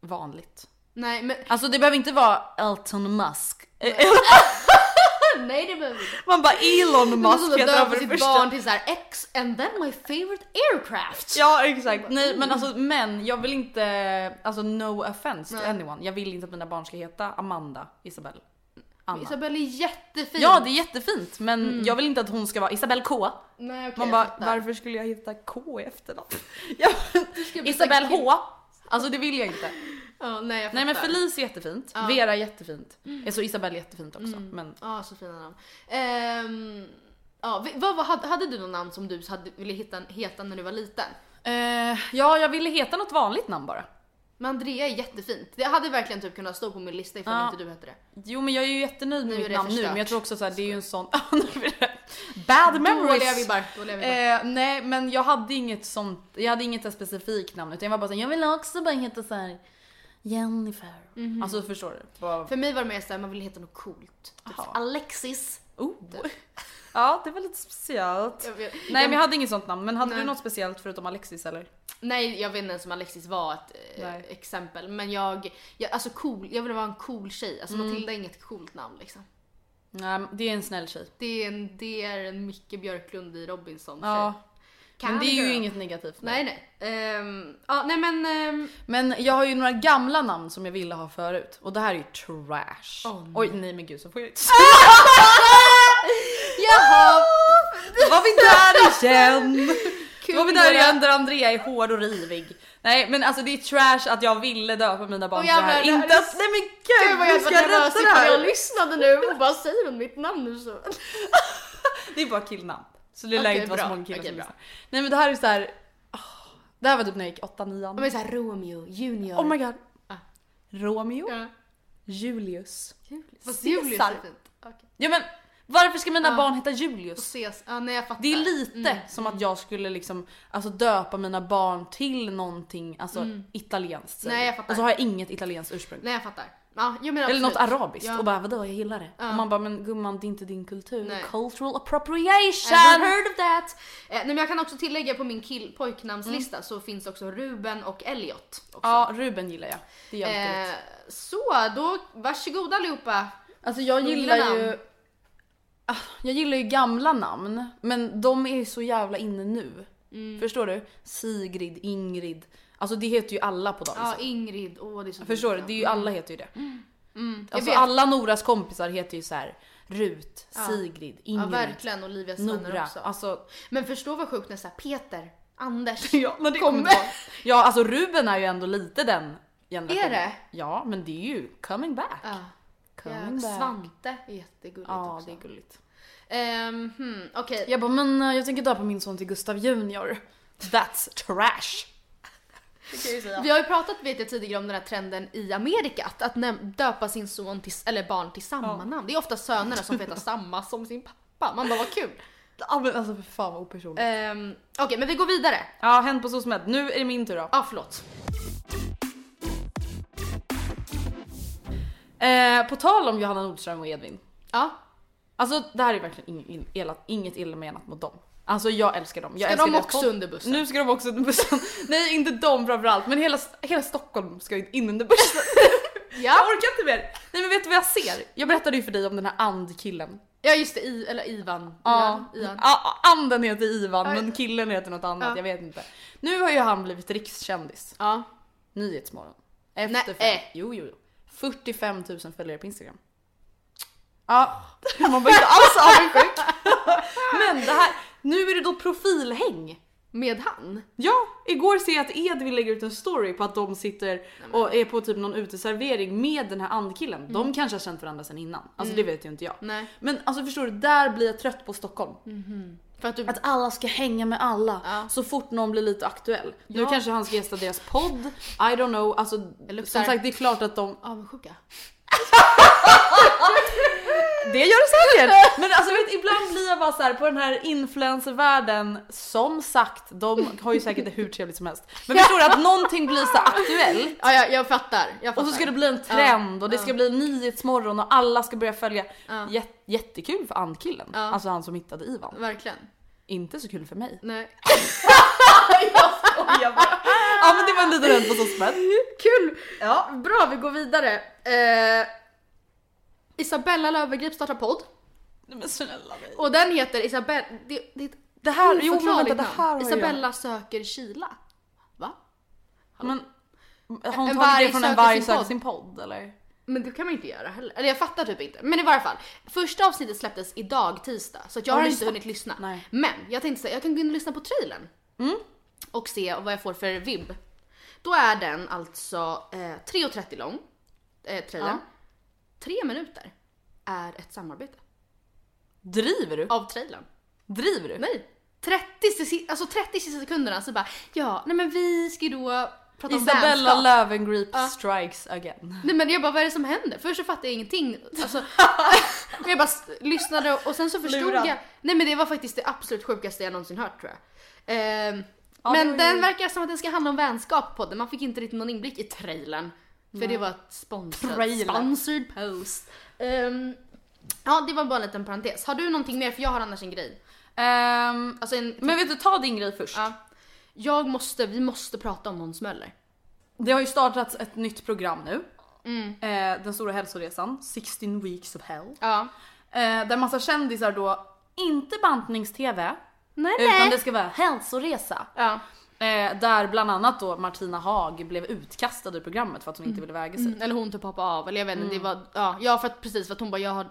vanligt.
Nej men
Alltså det behöver inte vara Elton Musk.
nej det behöver vi inte.
Man bara Elon
Man
Musk
måste
heter han
döpa
för
sitt
det första.
barn till såhär X and then my favorite aircraft.
Ja exakt. Nej men alltså men jag vill inte, alltså no offense to anyone. Jag vill inte att mina barn ska heta Amanda,
Mm.
Isabel, Anna.
Alltså, Isabelle är jättefin.
Ja det är jättefint men jag vill inte att hon ska vara Isabel K.
Nej, okej,
Man
Mm. jag
bara
fattar.
varför skulle jag heta K i efternamn? Jag-
bli
Isabel
så
H. Alltså det vill jag inte.
Ja, nej, jag
Nej men
fattar.
Felice är jättefint, Vera är jättefint, mm. så Isabel är jättefint också. Men
Mm. Ja, så fina namn. Ehm, ja, vi- vad, vad, hade, hade du något namn som du hade, ville hitta, heta när du var liten?
Eh, ja, jag ville heta något vanligt namn bara.
Men Andrea är jättefint. Det hade verkligen typ kunnat stå på min lista ifall
Ja.
inte du hette det.
Jo men jag är ju jätnöjd med
Nu är
mitt
det
namn nu
förstört.
men jag tror också såhär det är ju en sån... Ja, nu är det- Bad memories!
Dåliga vibbar, dåliga vibbar.
Eh, nej men jag hade inget sånt, jag hade inget så här specifikt namn utan jag var bara såhär, jag ville också bara heta såhär Jennifer.
Mhm.
Alltså förstår du? Bara,
För mig var det mer såhär, man ville heta något coolt. Typ
Jaha.
Alexis.
oh. Ja det var lite speciellt.
Jag vet-
nej men jag hade inget sånt namn men hade
Nej.
du något speciellt förutom Alexis eller?
Nej, jag vet inte ens om Alexis var ett eh,
Nej.
exempel. Men jag, jag, alltså cool, jag ville vara en cool tjej. Alltså
Mm.
Matilda är inget coolt namn liksom.
Nej det är en snäll tjej.
Det är en, det är en Micke Björklund i Robinson
Ja.
tjej.
Men det är ju
Cowgirl.
inget negativt.
Nej nej. Ehm, ja, nej men... ehm,
Men jag har ju några gamla namn som jag ville ha förut och det här är ju trash. Oj nej men gud så får jag
Ah!
inte
Jaha!
Då var vi där igen! Då var vi där
Kul
igen där Andrea är hård och rivig. Nej men alltså det är trash att jag ville döpa mina barn
Åh,
till det här.
jävlar, det här
Inte
är
att,
så-
nej men
Gud
gud
vad
hur
jag
ska
var
jag
jag
rädda det
sitter och
här?
lyssnade nu och bara säger hon mitt namn nu så.
Det är bara killnamn. Så det lär
Okej,
inte vara så
bra.
många killar
Okej,
som
bra.
lyssnar. Nej men det här är så här. åh, det här var typ när jag gick 8
Ja
9
men såhär Romeo, Junior.
Oh my god.
Ah.
Romeo,
Ja.
Julius.
Fast Julius är
Caesar.
fint. Okej.
Ja men varför ska mina
Ah.
barn heta Julius?
Ses. Ja nej jag fattar.
Det är lite som att jag skulle liksom, alltså döpa mina barn till någonting alltså, italienskt. säger
Mm. Nej,
vi.
jag fattar.
Och så har jag inget italienskt ursprung.
Nej jag fattar. Ja, jo, men
Eller något
absolut.
arabiskt
Ja.
och bara vadå jag gillar det. Och man bara men gumman det är inte din kultur.
Nej.
Cultural
Ever
appropriation!
heard of that? Eh, nej men jag kan också tillägga på min kill pojknamnslista så finns också Ruben och Elliot. Också.
Mm. Ja Ruben gillar jag. Det är jag
eh,
eh.
så då varsågoda allihopa.
Alltså jag
gillar
gillar ju
namn.
Ah, jag gillar ju gamla namn men de är ju så jävla inne nu.
Mm.
Förstår du? Sigrid, Ingrid. Alltså det heter ju alla på dagens
Ja Ingrid, åh det är så
Förstår du?
fint
Det är ju,
namn.
alla heter ju det. alltså
Mm. vet.
alla Noras kompisar heter ju så här Rut, Sigrid,
Ja
Ingrid,
verkligen, Olivias vänner
Nora.
också.
Alltså,
Men förstå vad sjukt när såhär Peter, Anders
ja, men det kommer inte vara- ja, alltså Ruben är ju ändå lite den generationen.
Är det?
Ja, men det är ju coming back.
Ja.
Coming back.
Svante är jättegulligt
Ja,
också.
det är gulligt.
Ehm, hmm, Okej,
Jag bara, men eh, jag tänker döpa min son till Gustav Junior. That's trash.
vi har ju pratat vet jag, tidigare om den här trenden i Amerika att, att näm- döpa sin son till, eller barn till samma namn. Det är ofta sönerna som får heta samma som sin pappa. Man bara vad kul.
Ja, men alltså för fan vad opersonligt.
Ehm, Okej men vi går vidare.
Ja, hänt på SOSMED. Nu är det min tur då.
Ja ah, förlåt.
Eh, på tal om Johanna Nordström och Edvin.
Ja.
Alltså det här är verkligen ing- in- elat- inget illa menat mot dem. Alltså jag älskar dem. Jag
Ska
älskar
de
deras
också
podd.
under bussen?
Nu ska de också under bussen. Nej inte de framförallt men hela, hela Stockholm ska ju in under bussen. Jag orkar inte mer. Nej men vet du vad jag ser? Jag berättade ju för dig om den här andkillen.
Ja just det, I, eller Ivan.
Ja,
Ivan. Ivan.
ja, anden heter Ivan
Ja.
men killen heter något annat,
Ja.
jag vet inte. Nu har ju han blivit rikskändis.
Ja.
Nyhetsmorgon. Efter
Nej. eh.
fem. Jo, jo, jo. 45 000 följare på Instagram. Ja, man var inte alls avundsjuk. Men det här, nu är det då profilhäng.
Med han?
Ja, igår ser jag att Edvin lägger ut en story på att de sitter och är på typ någon uteservering med den här andkillen. De kanske har känt varandra sedan innan. Alltså det vet ju inte jag.
Mm. Nej.
Men alltså förstår du, där blir jag trött på Stockholm.
För att du...
Att alla ska hänga med alla
Ja.
så fort någon blir lite aktuell. Nu
Ja.
kanske han ska gästa deras podd, I don't know. Alltså
luktar.
som sagt det är klart att de...
Avundsjuka?
Det gör det säkert! Men alltså vet, ibland blir jag bara så här på den här influencervärlden, som sagt de har ju säkert det hur trevligt som helst. Men förstår du att någonting blir så aktuellt
Ja, jag, jag fattar. Jag fattar.
Och så ska det bli en trend och det ska bli Nyhetsmorgon och alla ska börja följa. Jät- jättekul för Ann-killen, alltså han som hittade Ivan.
Verkligen.
Inte så kul för mig.
Nej.
Ja men det var en liten rönt på sosspen.
Kul! Ja. Bra, vi går vidare. Eh, Isabella Löwengrip startar podd.
Men snälla mig.
Och den heter Isabella... Det, det är ett
Det här, jo men vänta
oförklarligt
det här har
Mm, namn.
jag-
Isabella söker Kila. Va?
Men, har hon
En
tagit
varg
det från en
söker
varg
sin
söker
podd.
sin podd eller?
Men det kan man inte göra heller. Eller jag fattar typ inte. Men i varje fall. Första avsnittet släpptes idag tisdag så att jag
Har
har,
du
inte
lyssnat?
hunnit lyssna.
Nej.
Men jag tänkte säga, jag kan gå in och lyssna på trailern. Och se vad jag får för vibb. Då är den alltså eh, 3.30 lång. Eh, trailern. Tre minuter är ett samarbete
Driver du?
av trailern.
Driver du?
Nej! 30, sesi- alltså 30 sista sekunderna så bara ja, nej men vi ska ju då prata om
Isabella
vänskap.
Löwengrip strikes again.
Nej men jag bara vad är det som händer? Först så fattade jag ingenting. Alltså, men jag bara s- lyssnade och- och sen så förstod
Lurad.
jag. Nej men det var faktiskt det absolut sjukaste jag någonsin hört tror jag. Ehm,
det var
men den
ju-
verkar som att den ska handla om vänskap på den. Man fick inte riktigt någon inblick i trailern. För det var ett sponsrat,
Trailern.
sponsored post. Ehm, ja det var bara en liten parentes. Har du någonting mer? För jag har annars en grej.
Ehm,
Alltså en,
men vet du, ta din grej först.
ja. Jag måste, vi måste prata om Måns Möller.
Det har ju startats ett nytt program nu. Eh, den stora hälsoresan, 16 weeks of hell.
Mm. Ja.
Eh, där massa kändisar då, inte bantnings-tv,
Nej
utan det
nej.
ska vara hälsoresa.
Ja.
Eh, där bland annat då Martina Haag blev utkastad ur programmet för att hon inte ville väga sig.
Mm, Eller hon typ hoppade av, eller jag vet inte, det var, ja, ja för att precis för att hon bara jag har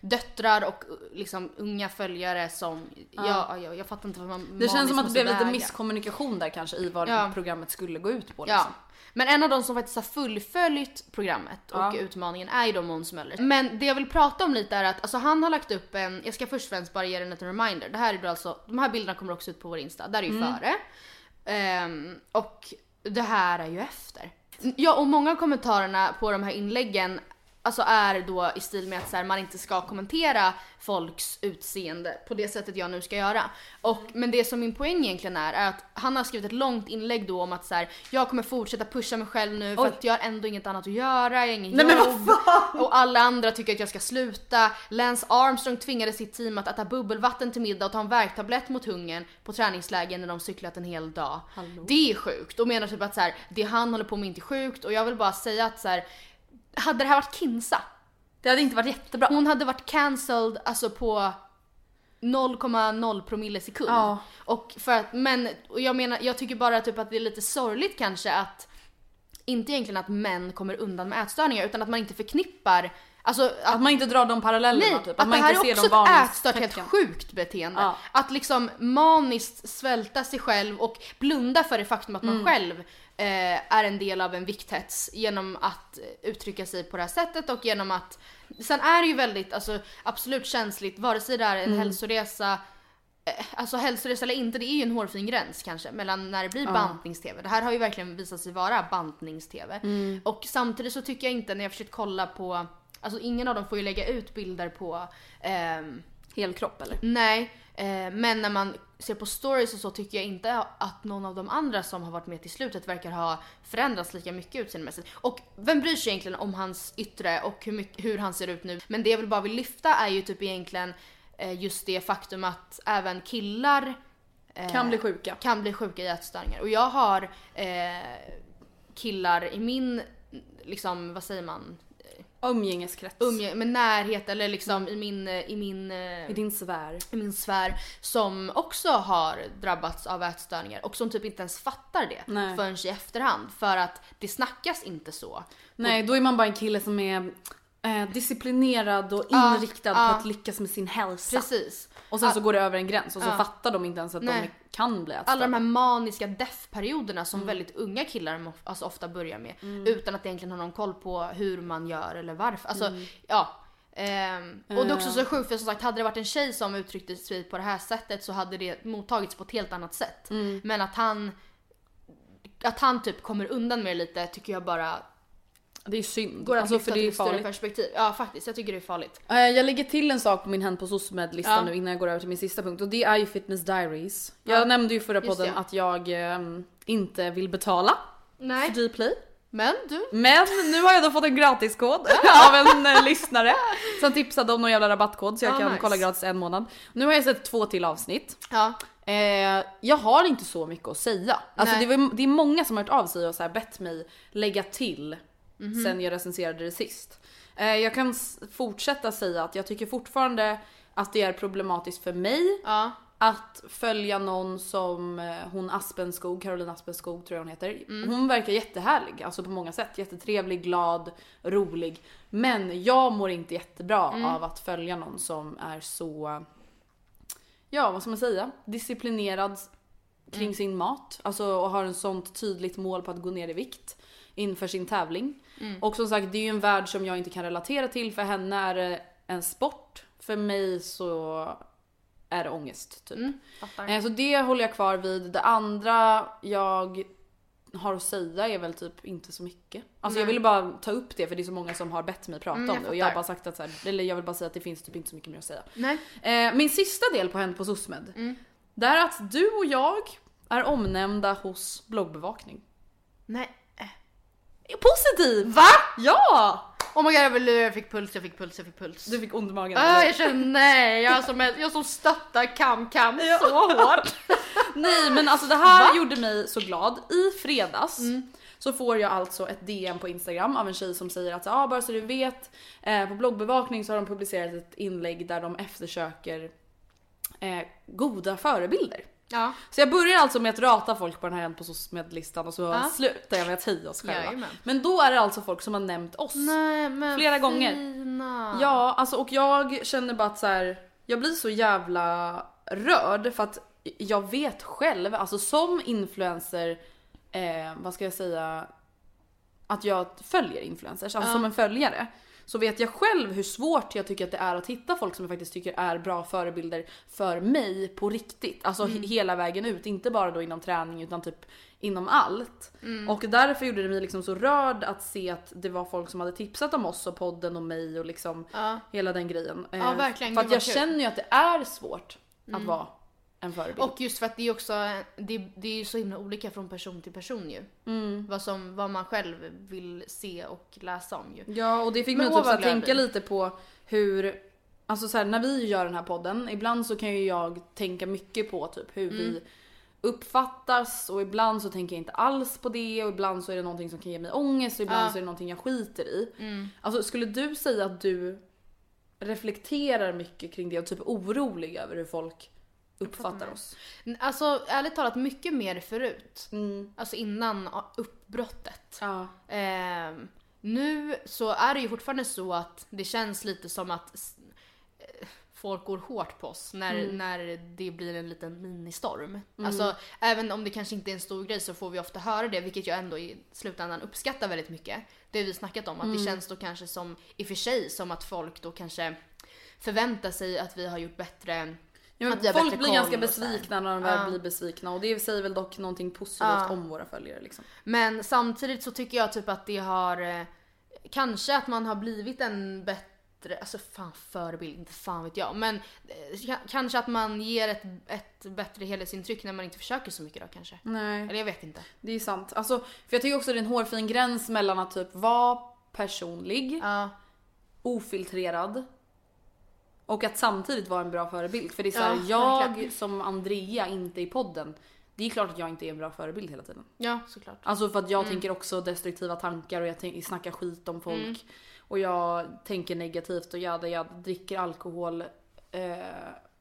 döttrar och uh, liksom unga följare som, ja. Ja, jag, jag fattar inte vad man
Det känns
maniskt
som att det
måste
blev lite
väga.
misskommunikation där kanske i vad
Ja.
programmet skulle gå ut på.
Ja.
Liksom.
Men en av de som faktiskt har fullföljt programmet och
Ja.
utmaningen är ju då Måns Möller. Men det jag vill prata om lite är att alltså, han har lagt upp en, jag ska först och främst bara ge den en liten reminder. Det här är då alltså, de här bilderna kommer också ut på vår Insta, där är ju
Mm.
före. Ehm, och det här är ju efter. Ja och många av kommentarerna på de här inläggen alltså är då i stil med att så här, man inte ska kommentera folks utseende på det sättet jag nu ska göra. Och, men det som min poäng egentligen är, är att han har skrivit ett långt inlägg då om att så här, jag kommer fortsätta pusha mig själv nu för
Oj.
att jag har ändå inget annat att göra, jag har ingen
Nej, men vad
jobb. Och alla andra tycker att jag ska sluta. Lance Armstrong tvingade sitt team att äta bubbelvatten till middag och ta en värktablett mot hungern på träningslägen när de cyklat en hel dag. Det är sjukt och menar typ att så här, det han håller på med är inte sjukt och jag vill bara säga att så här, hade det här varit Kinsa,
Det hade inte varit jättebra.
hon hade varit cancelled alltså på 0,0 promille sekund.
Ja.
Och för att, men och jag menar, jag tycker bara typ att det är lite sorgligt kanske att inte egentligen att män kommer undan med ätstörningar utan att man inte förknippar alltså att
Att man inte drar de parallellerna
Nej,
typ.
att,
man
det här
inte
är
ser
också
de
ett ätstört helt
varningstecken.
sjukt beteende.
Ja.
Att liksom maniskt svälta sig själv och blunda för det faktum att
Mm.
man själv eh, är en del av en vikthets genom att eh, uttrycka sig på det här sättet och genom att... Sen är det ju väldigt, alltså absolut känsligt, vare sig det är en
Mm.
hälsoresa eh, Alltså hälsoresa eller inte, det är ju en hårfin gräns kanske mellan när det blir bantnings-tv. Det här har ju verkligen visat sig vara bantnings-tv. Och samtidigt så tycker jag inte när jag försökt kolla på, alltså ingen av dem får ju lägga ut bilder på, ehm,
Helkropp eller?
nej, eh, men när man ser på stories och så tycker jag inte att någon av de andra som har varit med till slutet verkar ha förändrats lika mycket utseendemässigt. Och vem bryr sig egentligen om hans yttre och hur, mycket, hur han ser ut nu? Men det jag väl bara vill lyfta är ju typ egentligen eh, just det faktum att även killar
Kan bli sjuka.
Eh, kan bli sjuka i ätstörningar. Och jag har eh, killar i min, liksom vad säger man, eh,
Umgängeskrets.
umgänge, med närhet eller liksom i min, eh, i min, eh,
I din sfär.
i min sfär som också har drabbats av ätstörningar och som typ inte ens fattar det
Nej.
förrän i efterhand för att det snackas inte så.
Nej, då är man bara en kille som är eh, disciplinerad och
Ja,
inriktad
ja.
på att lyckas med sin hälsa.
Precis.
Och sen
Ah.
så går det över en gräns och så
Ja.
fattar de inte ens att
Nej.
de kan bli
Alla de
ätstörda.
här maniska deff-perioderna
Mm.
som väldigt unga killar mo- alltså ofta börjar med utan att egentligen ha någon koll på hur man gör eller varför. Alltså,
Mm.
ja. Ehm, och det är
Eh.
också så sjukt för som sagt hade det varit en tjej som uttryckte sig på det här sättet så hade det mottagits på ett helt annat sätt.
Mm.
Men att han att han typ kommer undan med det lite tycker jag bara
Det är synd.
går att
alltså, för det
lyfta till
är
ett större
farligt.
perspektiv. Ja faktiskt, jag tycker det är farligt.
Eh, Jag lägger till en sak på min Hänt på SOSMED-lista
Ja.
nu innan jag går över till min sista punkt och det är ju Fitness Diaries. Jag
Ja.
nämnde ju i förra
Just
podden
det.
att jag ehm, inte vill betala
Nej.
för Dplay.
Men du,
Men nu har jag då fått en gratiskod av en eh, lyssnare som tipsade om någon jävla rabattkod så jag
Ah,
kan
nice.
kolla gratis en månad. Nu har jag sett två till avsnitt.
ja.
Eh, jag har inte så mycket att säga. Alltså det,
Nej.
var, det är många som har hört av sig och så här bett mig lägga till
Mhm.
sen jag recenserade det sist. Eh, jag kan s- fortsätta säga att jag tycker fortfarande att det är problematiskt för mig
ja.
att följa någon som eh, hon Aspenskog, Caroline Aspenskog tror jag hon heter.
Mm.
Hon verkar jättehärlig, alltså på många sätt. Jättetrevlig, glad, rolig. Men jag mår inte jättebra
Mm.
av att följa någon som är så, ja vad ska man säga, disciplinerad kring
Mm.
sin mat. Alltså och har en sånt tydligt mål på att gå ner i vikt inför sin tävling.
Mm.
Och som sagt det är ju en värld som jag inte kan relatera till. För henne är det en sport. För mig så är det ångest typ.
Mm,
Eh, Så det håller jag kvar vid. Det andra jag har att säga är väl typ inte så mycket. Alltså jag ville bara ta upp det för det är så många som har bett mig prata
Mm, jag
om det och jag har
fattar.
bara sagt att så här, eller jag vill bara säga att det finns typ inte så mycket mer att säga.
Nej. Mm.
Eh, min sista del på Hänt på SOSMED. Det är att du och jag är omnämnda hos bloggbevakning.
Nej. Eh,
Positiv!
Va?
Ja!
Oh my god jag vill- jag fick puls, jag fick puls, jag fick puls.
Du fick ont i magen.
Ah, jag känner nej, jag som, jag som stöttar kam-kam så hårt.
Nej men alltså det här gjorde mig så glad. I fredags
Mm.
så får jag alltså ett DM på Instagram av en tjej som säger att ah, bara så du vet, eh, på bloggbevakning så har de publicerat ett inlägg där de eftersöker eh, goda förebilder.
Ja.
Så jag börjar alltså med att rata folk på den här Hänt på listan och så slutar jag med att heja oss själva.
Jajamän.
Men då är det alltså folk som har nämnt oss.
Nej, men
Flera gånger.
Fina.
Ja, alltså och jag känner bara att så här, jag blir så jävla rörd för att jag vet själv, alltså som influencer, eh, vad ska jag säga, att jag följer influencers, alltså som en följare. Så vet jag själv hur svårt jag tycker att det är att hitta folk som jag faktiskt tycker är bra förebilder för mig på riktigt. Alltså
Mm.
he- hela vägen ut, inte bara då inom träning utan typ inom allt.
Mm.
Och därför gjorde det mig liksom så rörd att se att det var folk som hade tipsat om oss och podden och mig och liksom hela den grejen. Eh,
verkligen.
För att
Gud,
jag
vad kul. Mm.
känner ju att det är svårt att vara en förebild.
Och just för att det är också, det, det är ju så himla olika från person till person ju.
Mm.
Vad, som, vad man själv vill se och läsa om ju.
Ja och det fick mig
Men
typ
åh,
så
vad
att
glad jag
tänka
blir.
lite på hur Alltså så här, när vi gör den här podden, ibland så kan ju jag tänka mycket på typ hur
Mm.
vi uppfattas och ibland så tänker jag inte alls på det och ibland så är det någonting som kan ge mig ångest och ibland så är det någonting jag skiter i.
Mm.
Alltså skulle du säga att du reflekterar mycket kring det och typ är orolig över hur folk uppfattar oss?
Alltså ärligt talat mycket mer förut.
Mm.
Alltså innan uppbrottet.
Ja.
Ehm, nu så är det ju fortfarande så att det känns lite som att s- eh, folk går hårt på oss när,
Mm.
när det blir en liten ministorm. Alltså även om det kanske inte är en stor grej så får vi ofta höra det, vilket jag ändå i slutändan uppskattar väldigt mycket. Det har vi snackat om, att
Mm.
det känns då kanske som, i och för sig, som att folk då kanske förväntar sig att vi har gjort bättre
Ja, men
att vi har
folk
bättre
blir
koll
ganska
och så här.
besvikna när de väl blir besvikna och det säger väl dock någonting positivt om våra följare liksom.
Men samtidigt så tycker jag typ att det har eh, Kanske att man har blivit en bättre, alltså fan förebild, inte fan vet jag. Men eh, ka- kanske att man ger ett, ett bättre helhetsintryck när man inte försöker så mycket då kanske.
Nej.
Eller jag vet inte.
Det är sant. Alltså, för jag tycker också det är en hårfin gräns mellan att typ vara personlig,
Ja.
ofiltrerad och att samtidigt vara en bra förebild. För det är
Ja,
såhär, jag
verkligen.
som Andrea inte i podden, det är klart att jag inte är en bra förebild hela tiden.
Ja, såklart. Mm. Mm.
Alltså för att jag tänker också destruktiva tankar och jag tänk- snackar skit om folk. och jag tänker negativt och jada jada, dricker alkohol. Eh,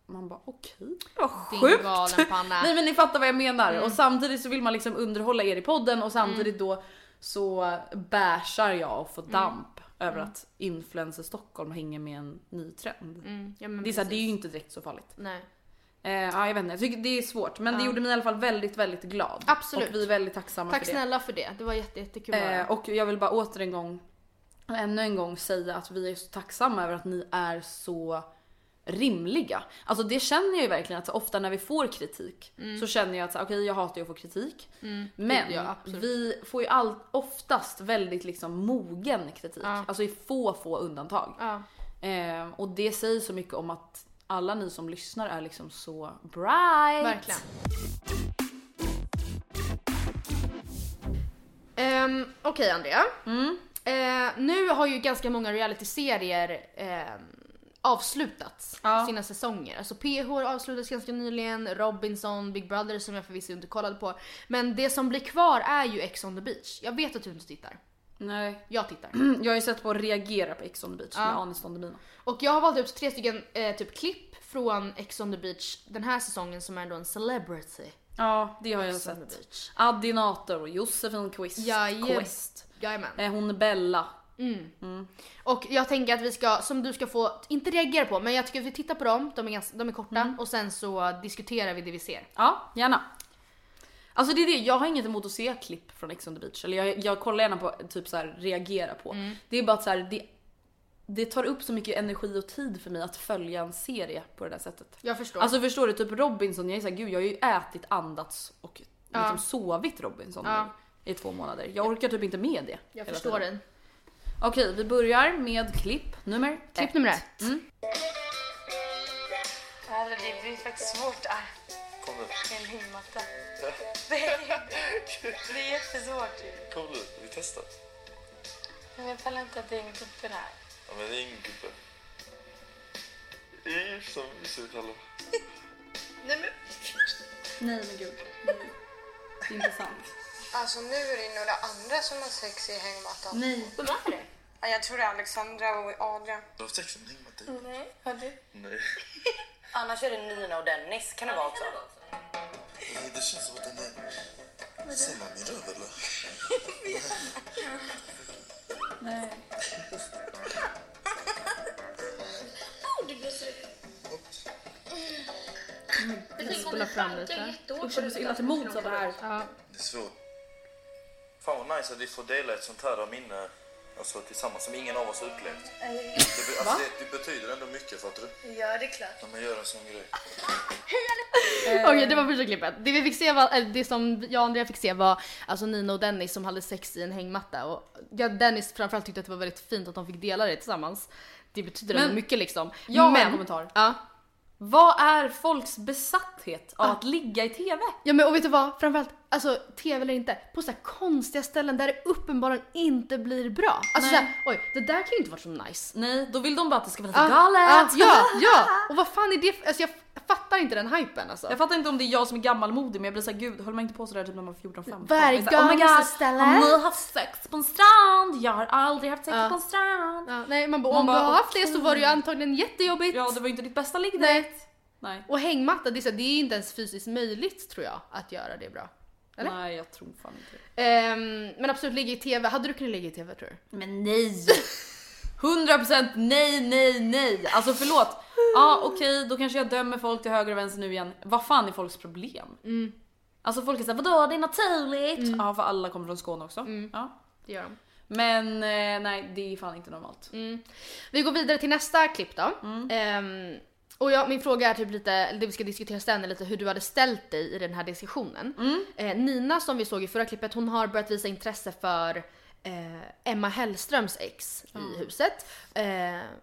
man bara okej, vad
Din
sjukt!
galenpanna.
Nej men ni fattar vad jag menar.
Mm.
Och samtidigt så vill man liksom underhålla er i podden och samtidigt då så bärsar jag och får
Mm.
damp över att influencer Stockholm hänger med en ny trend.
Ja, men
Det, är så här, det är
Mm, precis.
ju inte direkt så farligt.
Nej.
Eh, ja, jag vet inte, jag tycker det är svårt. Men det gjorde mig i alla fall väldigt, väldigt glad.
Absolut.
Och vi är väldigt tacksamma
Tack
för det.
snälla för det, det var jätte, jättekul att höra.
Eh, och jag vill bara åter en gång, ännu en gång säga att vi är så tacksamma över att ni är så rimliga. Alltså det känner jag ju verkligen att så ofta när vi får kritik så känner jag att så här, okej jag hatar ju att få kritik. Men
Ja, absolut.
vi får ju all, oftast väldigt liksom mogen kritik. Alltså i få, få undantag.
Ja.
Eh, och det säger så mycket om att alla ni som lyssnar är liksom så bright.
Verkligen. Ehm, Okej Andrea.
Mm.
Eh, nu har ju ganska många realityserier ehm, avslutats
Ja.
sina säsonger. Alltså PH avslutades ganska nyligen, Robinson, Big Brother som jag förvisso inte kollade på. Men det som blir kvar är ju Ex on the beach. Jag vet att du inte tittar.
Nej.
Jag tittar.
Jag har ju sett på Reagera på Ex on the beach med Anis Don Demina.
Och jag har valt ut tre stycken eh, typ klipp från Ex on the beach den här säsongen som är då en celebrity.
Ja, det har jag
Ex on the
sett.
beach.
Addi Nator, Josefin Quist.
Jajem-
Quest.
Jajamän.
Eh, hon är Bella.
Och jag tänker att vi ska, som du ska få, inte reagera på, men jag tycker att vi tittar på dem, de är, ganska, de är korta,
Mm.
och sen så diskuterar vi det vi ser.
Ja, gärna. Alltså det är det, jag har inget emot att se klipp från Ex on the beach. Eller jag, jag kollar gärna på, typ så här, reagera på.
Mm.
Det är bara att så här, det, det tar upp så mycket energi och tid för mig att följa en serie på det där sättet.
Jag förstår.
Alltså förstår du, typ Robinson, jag är såhär gud jag har ju ätit, andats och liksom
Ja.
sovit Robinson
Ja.
nu i två månader. Jag orkar typ inte med det.
jag
hela
förstår
tiden.
dig.
Okej, vi börjar med klipp nummer
Klipp
ett. Mm.
nummer ett.
Ja, det blir, det blir faktiskt svårt att
Kom nu,
med en hängmatta. Det är, det är jättesvårt ju.
kom nu, vi testar.
Men jag pallar inte att det är en gubbe här.
Ja men ring gubben. Ir som vi ser kallar.
Nej men gud. Det är intressant.
Alltså nu är det några andra som har sex i hängmattan.
Nej.
Vem är det?
Ja, Jag tror det är Alexandra och Adrian.
Du har haft sex med en hängmatta?
Nej, har du?
Nej.
Annars är det Nina och Dennis kan det vara också.
Nej, Eh, Det känns som att den är... Ser man min röv eller?
Spola fram lite.
Usch jag blir så illa till mods av det här.
Det är svårt. Fan vad nice att vi får dela ett sånt här minne alltså, tillsammans som ingen av oss har upplevt. Det, be- alltså, det, det betyder ändå mycket fattar du?
Ja, det är klart.
När man gör en sån grej.
Okej, det var första klippet. Det vi fick se var, eller det som jag och Andrea fick se var alltså Nina och Dennis som hade sex i en hängmatta och jag, Dennis framförallt tyckte att det var väldigt fint att de fick dela det tillsammans. Det betyder
Men-
ändå mycket liksom.
Jag har
Men-
en kommentar.
Ja.
Vad är folks besatthet av att ligga i TV?
Ja men och vet du vad? Framförallt, alltså tv eller inte, på så här konstiga ställen där det uppenbarligen inte blir bra.
Nej.
Alltså såhär, oj det där kan ju inte vara så nice.
Nej, då vill de bara att det ska vara
Ah,
lite galet.
ah, ja, ja! Och vad fan är det för- Alltså jag f- fattar inte den hypen alltså.
Jag fattar inte om det är jag som är gammalmodig men jag blir såhär gud höll man inte på sådär typ när man var 14-15?
Varje
Jag är såhär,
gång
"Oh my
vi
god,
ska ställa-
Har ni haft sex på en strand? Jag har aldrig haft sex på en strand.
Ja, nej man bara,
Man
om
bara,
du har haft det så
okej.
var det ju antagligen jättejobbigt.
Ja det var ju inte ditt bästa ligg
nej.
Nej.
Och hängmatta, det är, så här, det är inte ens fysiskt möjligt tror jag att göra det bra. Eller?
Nej jag tror fan inte det.
Ehm, men absolut, ligga i tv. Hade du kunnat ligga i tv tror du?
Men nej! 100% nej, nej, nej. Alltså förlåt. Ja okej, då kanske jag dömer folk till höger och vänster nu igen. Vad fan är folks problem? Alltså folk är såhär vadå det är naturligt? Ja för alla kommer från Skåne också. Ja.
Det gör de.
Men eh, nej det är fan inte normalt.
Vi går vidare till nästa klipp då. Ehm, och jag, min fråga är typ lite, eller det vi ska diskutera sen är lite hur du hade ställt dig i den här diskussionen. Eh, Nina som vi såg i förra klippet hon har börjat visa intresse för eh, Emma Hellströms ex i huset. Eh,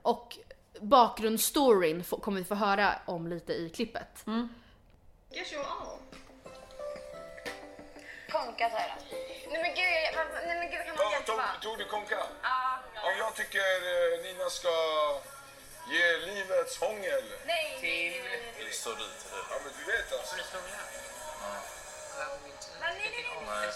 och bakgrundsstoryn få- kommer vi få höra om lite i klippet.
Get you all. Konka säger han. Nej men gud, jag- vad- nej men gud kan man hjälpa?
tog du konka?
Ja.
Om jag tycker eh, Nina ska ge livets hångel.
Nej, nej, nej, nej,
Eller står du till det? Ja men du vet alltså.
nej, nej, nej, nej.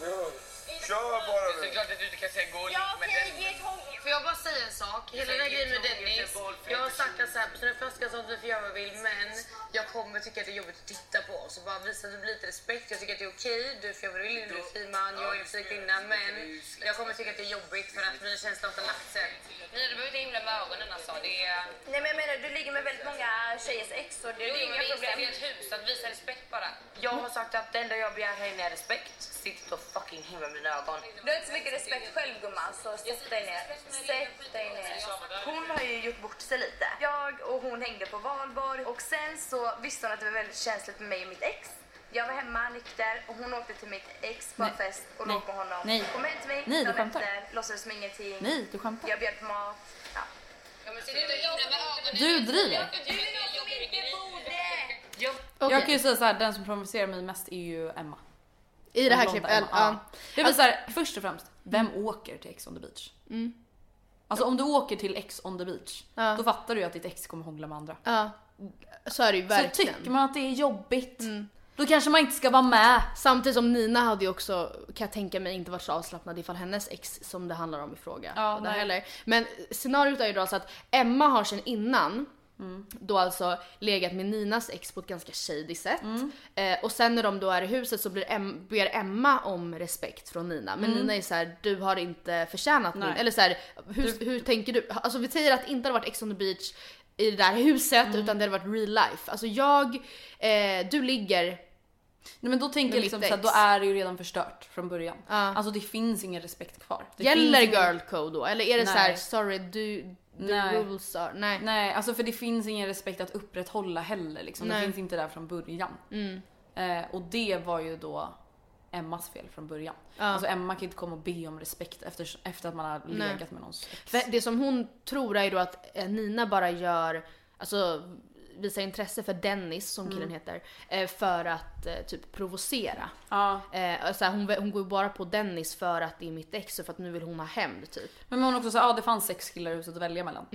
Ja.
I
Kör bara
Det är
nu.
klart att du inte kan säga gå och ligg
Ja,
med
okej,
Dennis.
ge ett hång.
Får jag bara säga en sak? Hela den här grejen med Dennis. Jag har sagt att så här, personen fuskar sånt vi får göra vad vi vill men jag kommer tycka att det är jobbigt att titta på oss och bara visa att det blir lite respekt. Jag tycker att det är okej, du får göra vad du vill, du är fin man, jag är en fin kvinna men jag kommer tycka att det är jobbigt för att mina känslor har inte lagt sig. Ni du behöver inte himla med ögonen alltså. Det är...
Nej men jag menar du ligger med väldigt många tjejers ex och det
Jo,
är
men
inga
vi
problem.
är i ett hus, att visa respekt bara. Jag har sagt att det enda jag begär här inne är respekt. Sitt inte och fucking himla med mina ögon.
Du har inte så mycket respekt själv gumman så sätt dig ner. Sätt dig ner. Hon har ju gjort bort sig lite. Jag och hon hängde på valborg och sen så visste hon att det var väldigt känsligt med mig och mitt ex. Jag var hemma nykter och hon åkte till mitt ex på en
Nej.
fest och
Nej.
låg med honom.
Nej.
Kom hem till mig
Nej, du
dagen
skämtar.
efter, låtsades som ingenting.
Nej, du skämtar.
Jag bjöd på mat. Ja.
Du driver.
Okej.
Jag kan ju säga så här, den som provocerar mig mest är ju Emma.
I det här
Blonda
klippet,
Emma,
ja. Alltså-
Det visar först och främst, vem åker till Ex on the beach?
Mm.
Alltså om du åker till Ex on the beach,
Ja.
då fattar du ju att ditt ex kommer hångla med andra.
Ja, så är det ju verkligen. Mm.
Så tycker man att det är jobbigt, då kanske man inte ska vara med.
Samtidigt som Nina hade ju också, kan jag tänka mig, inte varit så avslappnad ifall hennes ex som det handlar om i fråga.
Ja,
var där
nej.
heller. Men scenariot är ju då alltså att Emma har sen innan då alltså legat med Ninas ex på ett ganska shady sätt. Eh, och sen när de då är i huset så blir em- ber Emma om respekt från Nina. Men
Mm.
Nina är så här: du har inte förtjänat min...
Nej.
Eller så här, hur, hur tänker du? Alltså vi säger att det inte hade varit Ex on the beach i det där huset utan det hade varit real life. Alltså jag, eh, du ligger
Nej men då tänker
Med
jag liksom
mitt
såhär,
ex.
då är det ju redan förstört från början. Alltså det finns ingen respekt kvar. Det
Gäller
finns ingen-
girl code då? Eller är det så här, sorry du, the
Nej.
rules are... Nej.
Nej, alltså för det finns ingen respekt att upprätthålla heller liksom. Det
Nej.
finns inte där från början.
Mm.
Eh, och det var ju då Emmas fel från början.
Ja.
Alltså Emma kan inte komma och be om respekt efter, efter att man har
Nej.
legat med någons ex.
För det som hon tror är ju då att eh, Nina bara gör, alltså visar intresse för Dennis som killen
Mm.
heter, eh, för att eh, typ provocera.
Ja.
Eh, så här, hon, hon går ju bara på Dennis för att det är mitt ex och för att nu vill hon ha hämnd typ.
Men hon också sa, ja ah, det fanns sex killar i huset att välja mellan.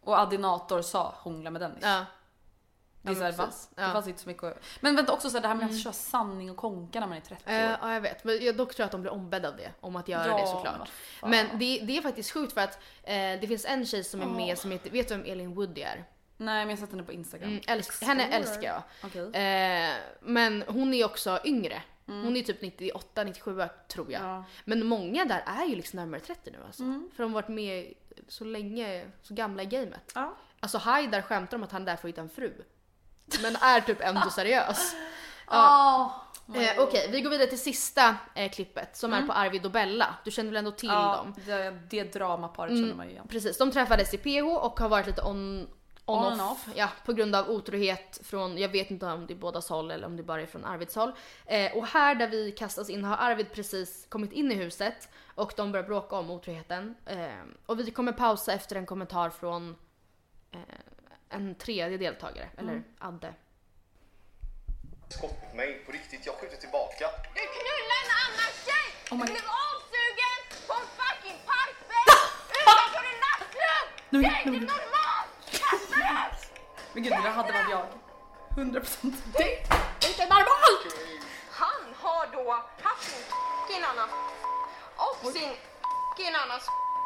Och Adinator sa hångla med Dennis.
Mm. Ja.
Det, är
Ja,
så här,
men
va?
precis.
det
Ja.
fanns inte så mycket att- Men vänta också så här, det här med att köra sanning och konka när man är 30 år.
Eh, ja jag vet, men jag dock tror jag att de blir ombedda av det. Om att göra
Ja,
det
men
såklart.
fan.
Men det, det är faktiskt sjukt för att eh, det finns en tjej som är
Åh.
med som heter, vet du vem Elin Woody är?
Nej men jag satte henne på Instagram.
Mm, älsk, henne
Explorer.
älskar jag.
Okej.
Eh, men hon är också yngre.
Mm.
Hon är typ 98, 97 tror jag. Men många där är ju liksom närmare 30 nu alltså.
Mm.
För de har varit med så länge, så gamla i gamet. Alltså Haidar skämtar om att han är där för att hitta en fru. Men är typ ändå seriös.
Ja.
Eh, Okej, vi går vidare till sista eh, klippet som
Mm.
är på Arvid och Bella. Du känner väl ändå till
ja,
dem?
Det, det dramaparet
Mm.
känner man ju igen.
Precis, de träffades i PH och har varit lite on, on,
On
off,
and off.
Ja, på grund av otrohet från, jag vet inte om det är bådas håll eller om det bara är från Arvids håll. Eh, och här där vi kastas in har Arvid precis kommit in i huset och de börjar bråka om otroheten. Eh, och vi kommer pausa efter en kommentar från eh, en tredje deltagare, eller
Mm.
Adde.
skott mot mig på riktigt. Jag skjuter tillbaka.
Du knullar en annan tjej!
Oh my God.
du blev avsugen på en fucking parkbänk utanför en nattklubb!
Nej,
Det är
nej,
inte
nej.
normalt! Kasta den!
Men gud det där hade varit jag. 100%.
Det är inte normalt! Han har då haft sin fucking annan och sin fucking annan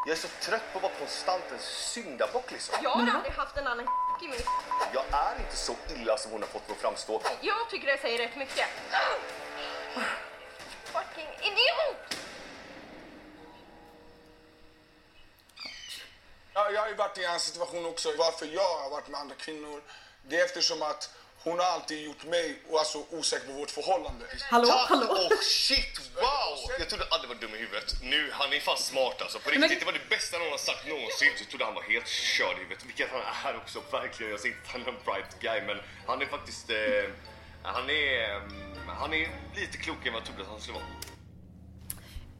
Jag är så trött på att vara konstant en syndabock liksom.
Jag har aldrig haft en annan i min
Jag är inte så illa som hon har fått mig att framstå.
Jag tycker det säger rätt mycket. Ah. Fucking idiot!
Ja, jag har ju varit i hans situation också. Varför jag har varit med andra kvinnor, det är eftersom att hon har alltid gjort mig och alltså, osäker på vårt förhållande.
Tack Och shit, wow! Jag trodde aldrig var dum i huvudet. Nu, han är fan smart alltså. På riktigt, det var det bästa någon har sagt någonsin. Så trodde han var helt körd i huvudet, vilket han är också verkligen. Jag säger inte att han är en bright guy, men han är faktiskt... Eh, han är... eh, Han är lite klokare än vad jag trodde att han skulle vara.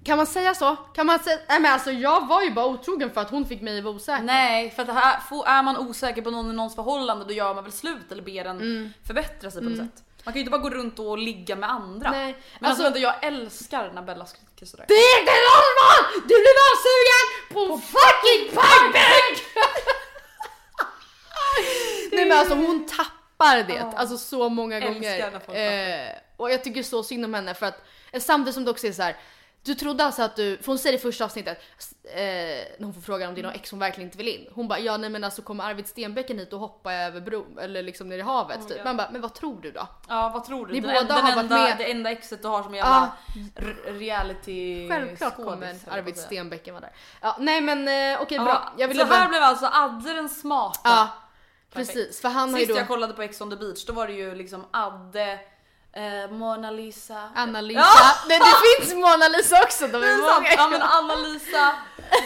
Kan man säga så? Kan man säga, nej men alltså jag var ju bara otrogen för att hon fick mig att vara osäker.
Nej, för att det här, får- är man osäker på någon i någons förhållande då gör man väl slut eller ber den förbättra sig på något
Mm.
sätt. Man kan ju inte bara gå runt och ligga med andra.
Nej,
Men alltså,
alltså-
vänta, jag älskar när Bella skriker sådär.
Det är inte normalt! Du blev avsugen på en fucking parkbänk! Nej men alltså hon tappar det
Ja.
alltså så många
Älskar
gånger.
när folk
Eh, och jag tycker så synd om henne för att eh, samtidigt som det också är så här. Du trodde alltså att du, för hon säger i första avsnittet, s- eh, när hon får frågan om det är någon ex hon verkligen inte vill in. Hon bara ja nej men alltså kommer Arvid Stenbecken hit och hoppa över bron eller liksom ner i havet
Oh my
typ.
God.
Man bara men vad tror du då?
Ja vad tror du?
Ni
Det-
båda
den
har varit
enda,
med.
Det enda exet du har som jävla
Ja.
r- reality
Självklart
skådis,
kommer
höll jag på att
Arvid
säga.
Stenbecken vara där. Ja, nej men eh, okej bra.
Ja,
Jag ville
så här
bara...
blev alltså Adde den smarta.
Ja,
Perfekt.
precis. För han har ju
Sist
då...
jag kollade på Ex on the beach då var det ju liksom Adde, eh, Mona Lisa.
Anna Lisa.
Ja!
Men det finns Mona Lisa också, de
Det
är
är sant.
många.
Ja men Anna-Lisa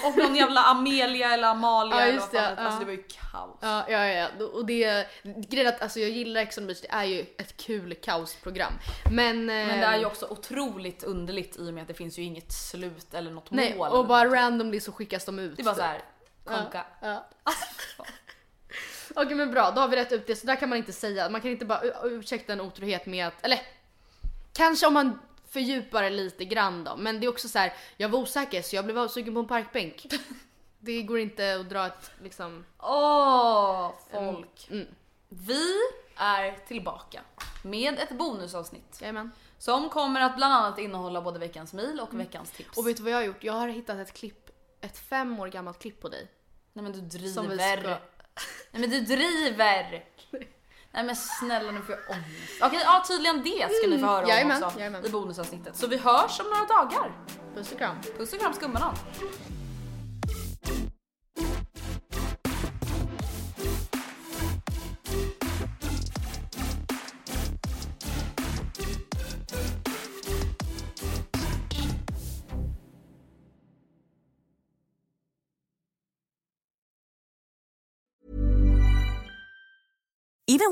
och någon jävla Amelia eller Amalia
Ja,
eller
just
vad fan
det,
det, Alltså
ja.
det var ju kaos.
Ja, ja, ja. ja. Och det, grejen är att alltså, jag gillar Ex on the beach, det är ju ett kul kaosprogram. Men, eh,
Men det är ju också otroligt underligt i och med att det finns ju inget slut eller något
Nej,
mål.
och bara randomly så skickas de ut.
Det är bara
typ.
så här,
Ja,
konka.
ja. Okej men bra, då har vi rätt ut det. Så där kan man inte säga. Man kan inte bara "U- ursäkta en otrohet med att, eller kanske om man fördjupar det lite grann då. Men det är också så här, jag var osäker så jag blev avsugen på en parkbänk. det går inte att dra ett liksom...
Åh,
Mm,
folk. Vi är tillbaka med ett bonusavsnitt.
Jajamän.
Som kommer att bland annat innehålla både veckans mil och
Mm.
veckans tips.
Och vet du vad jag har gjort? Jag har hittat ett klipp, ett fem år gammalt klipp på dig.
Nej men du driver.
Som vi ska-
Nej men du driver! Nej men snälla nu får jag ångest. Okej, ja tydligen det ska ni få
Mm,
höra om
jajamän,
också
jajamän.
i bonusavsnittet. Så vi hörs om några dagar.
Puss och kram.
Puss och kram skumbanan.
Even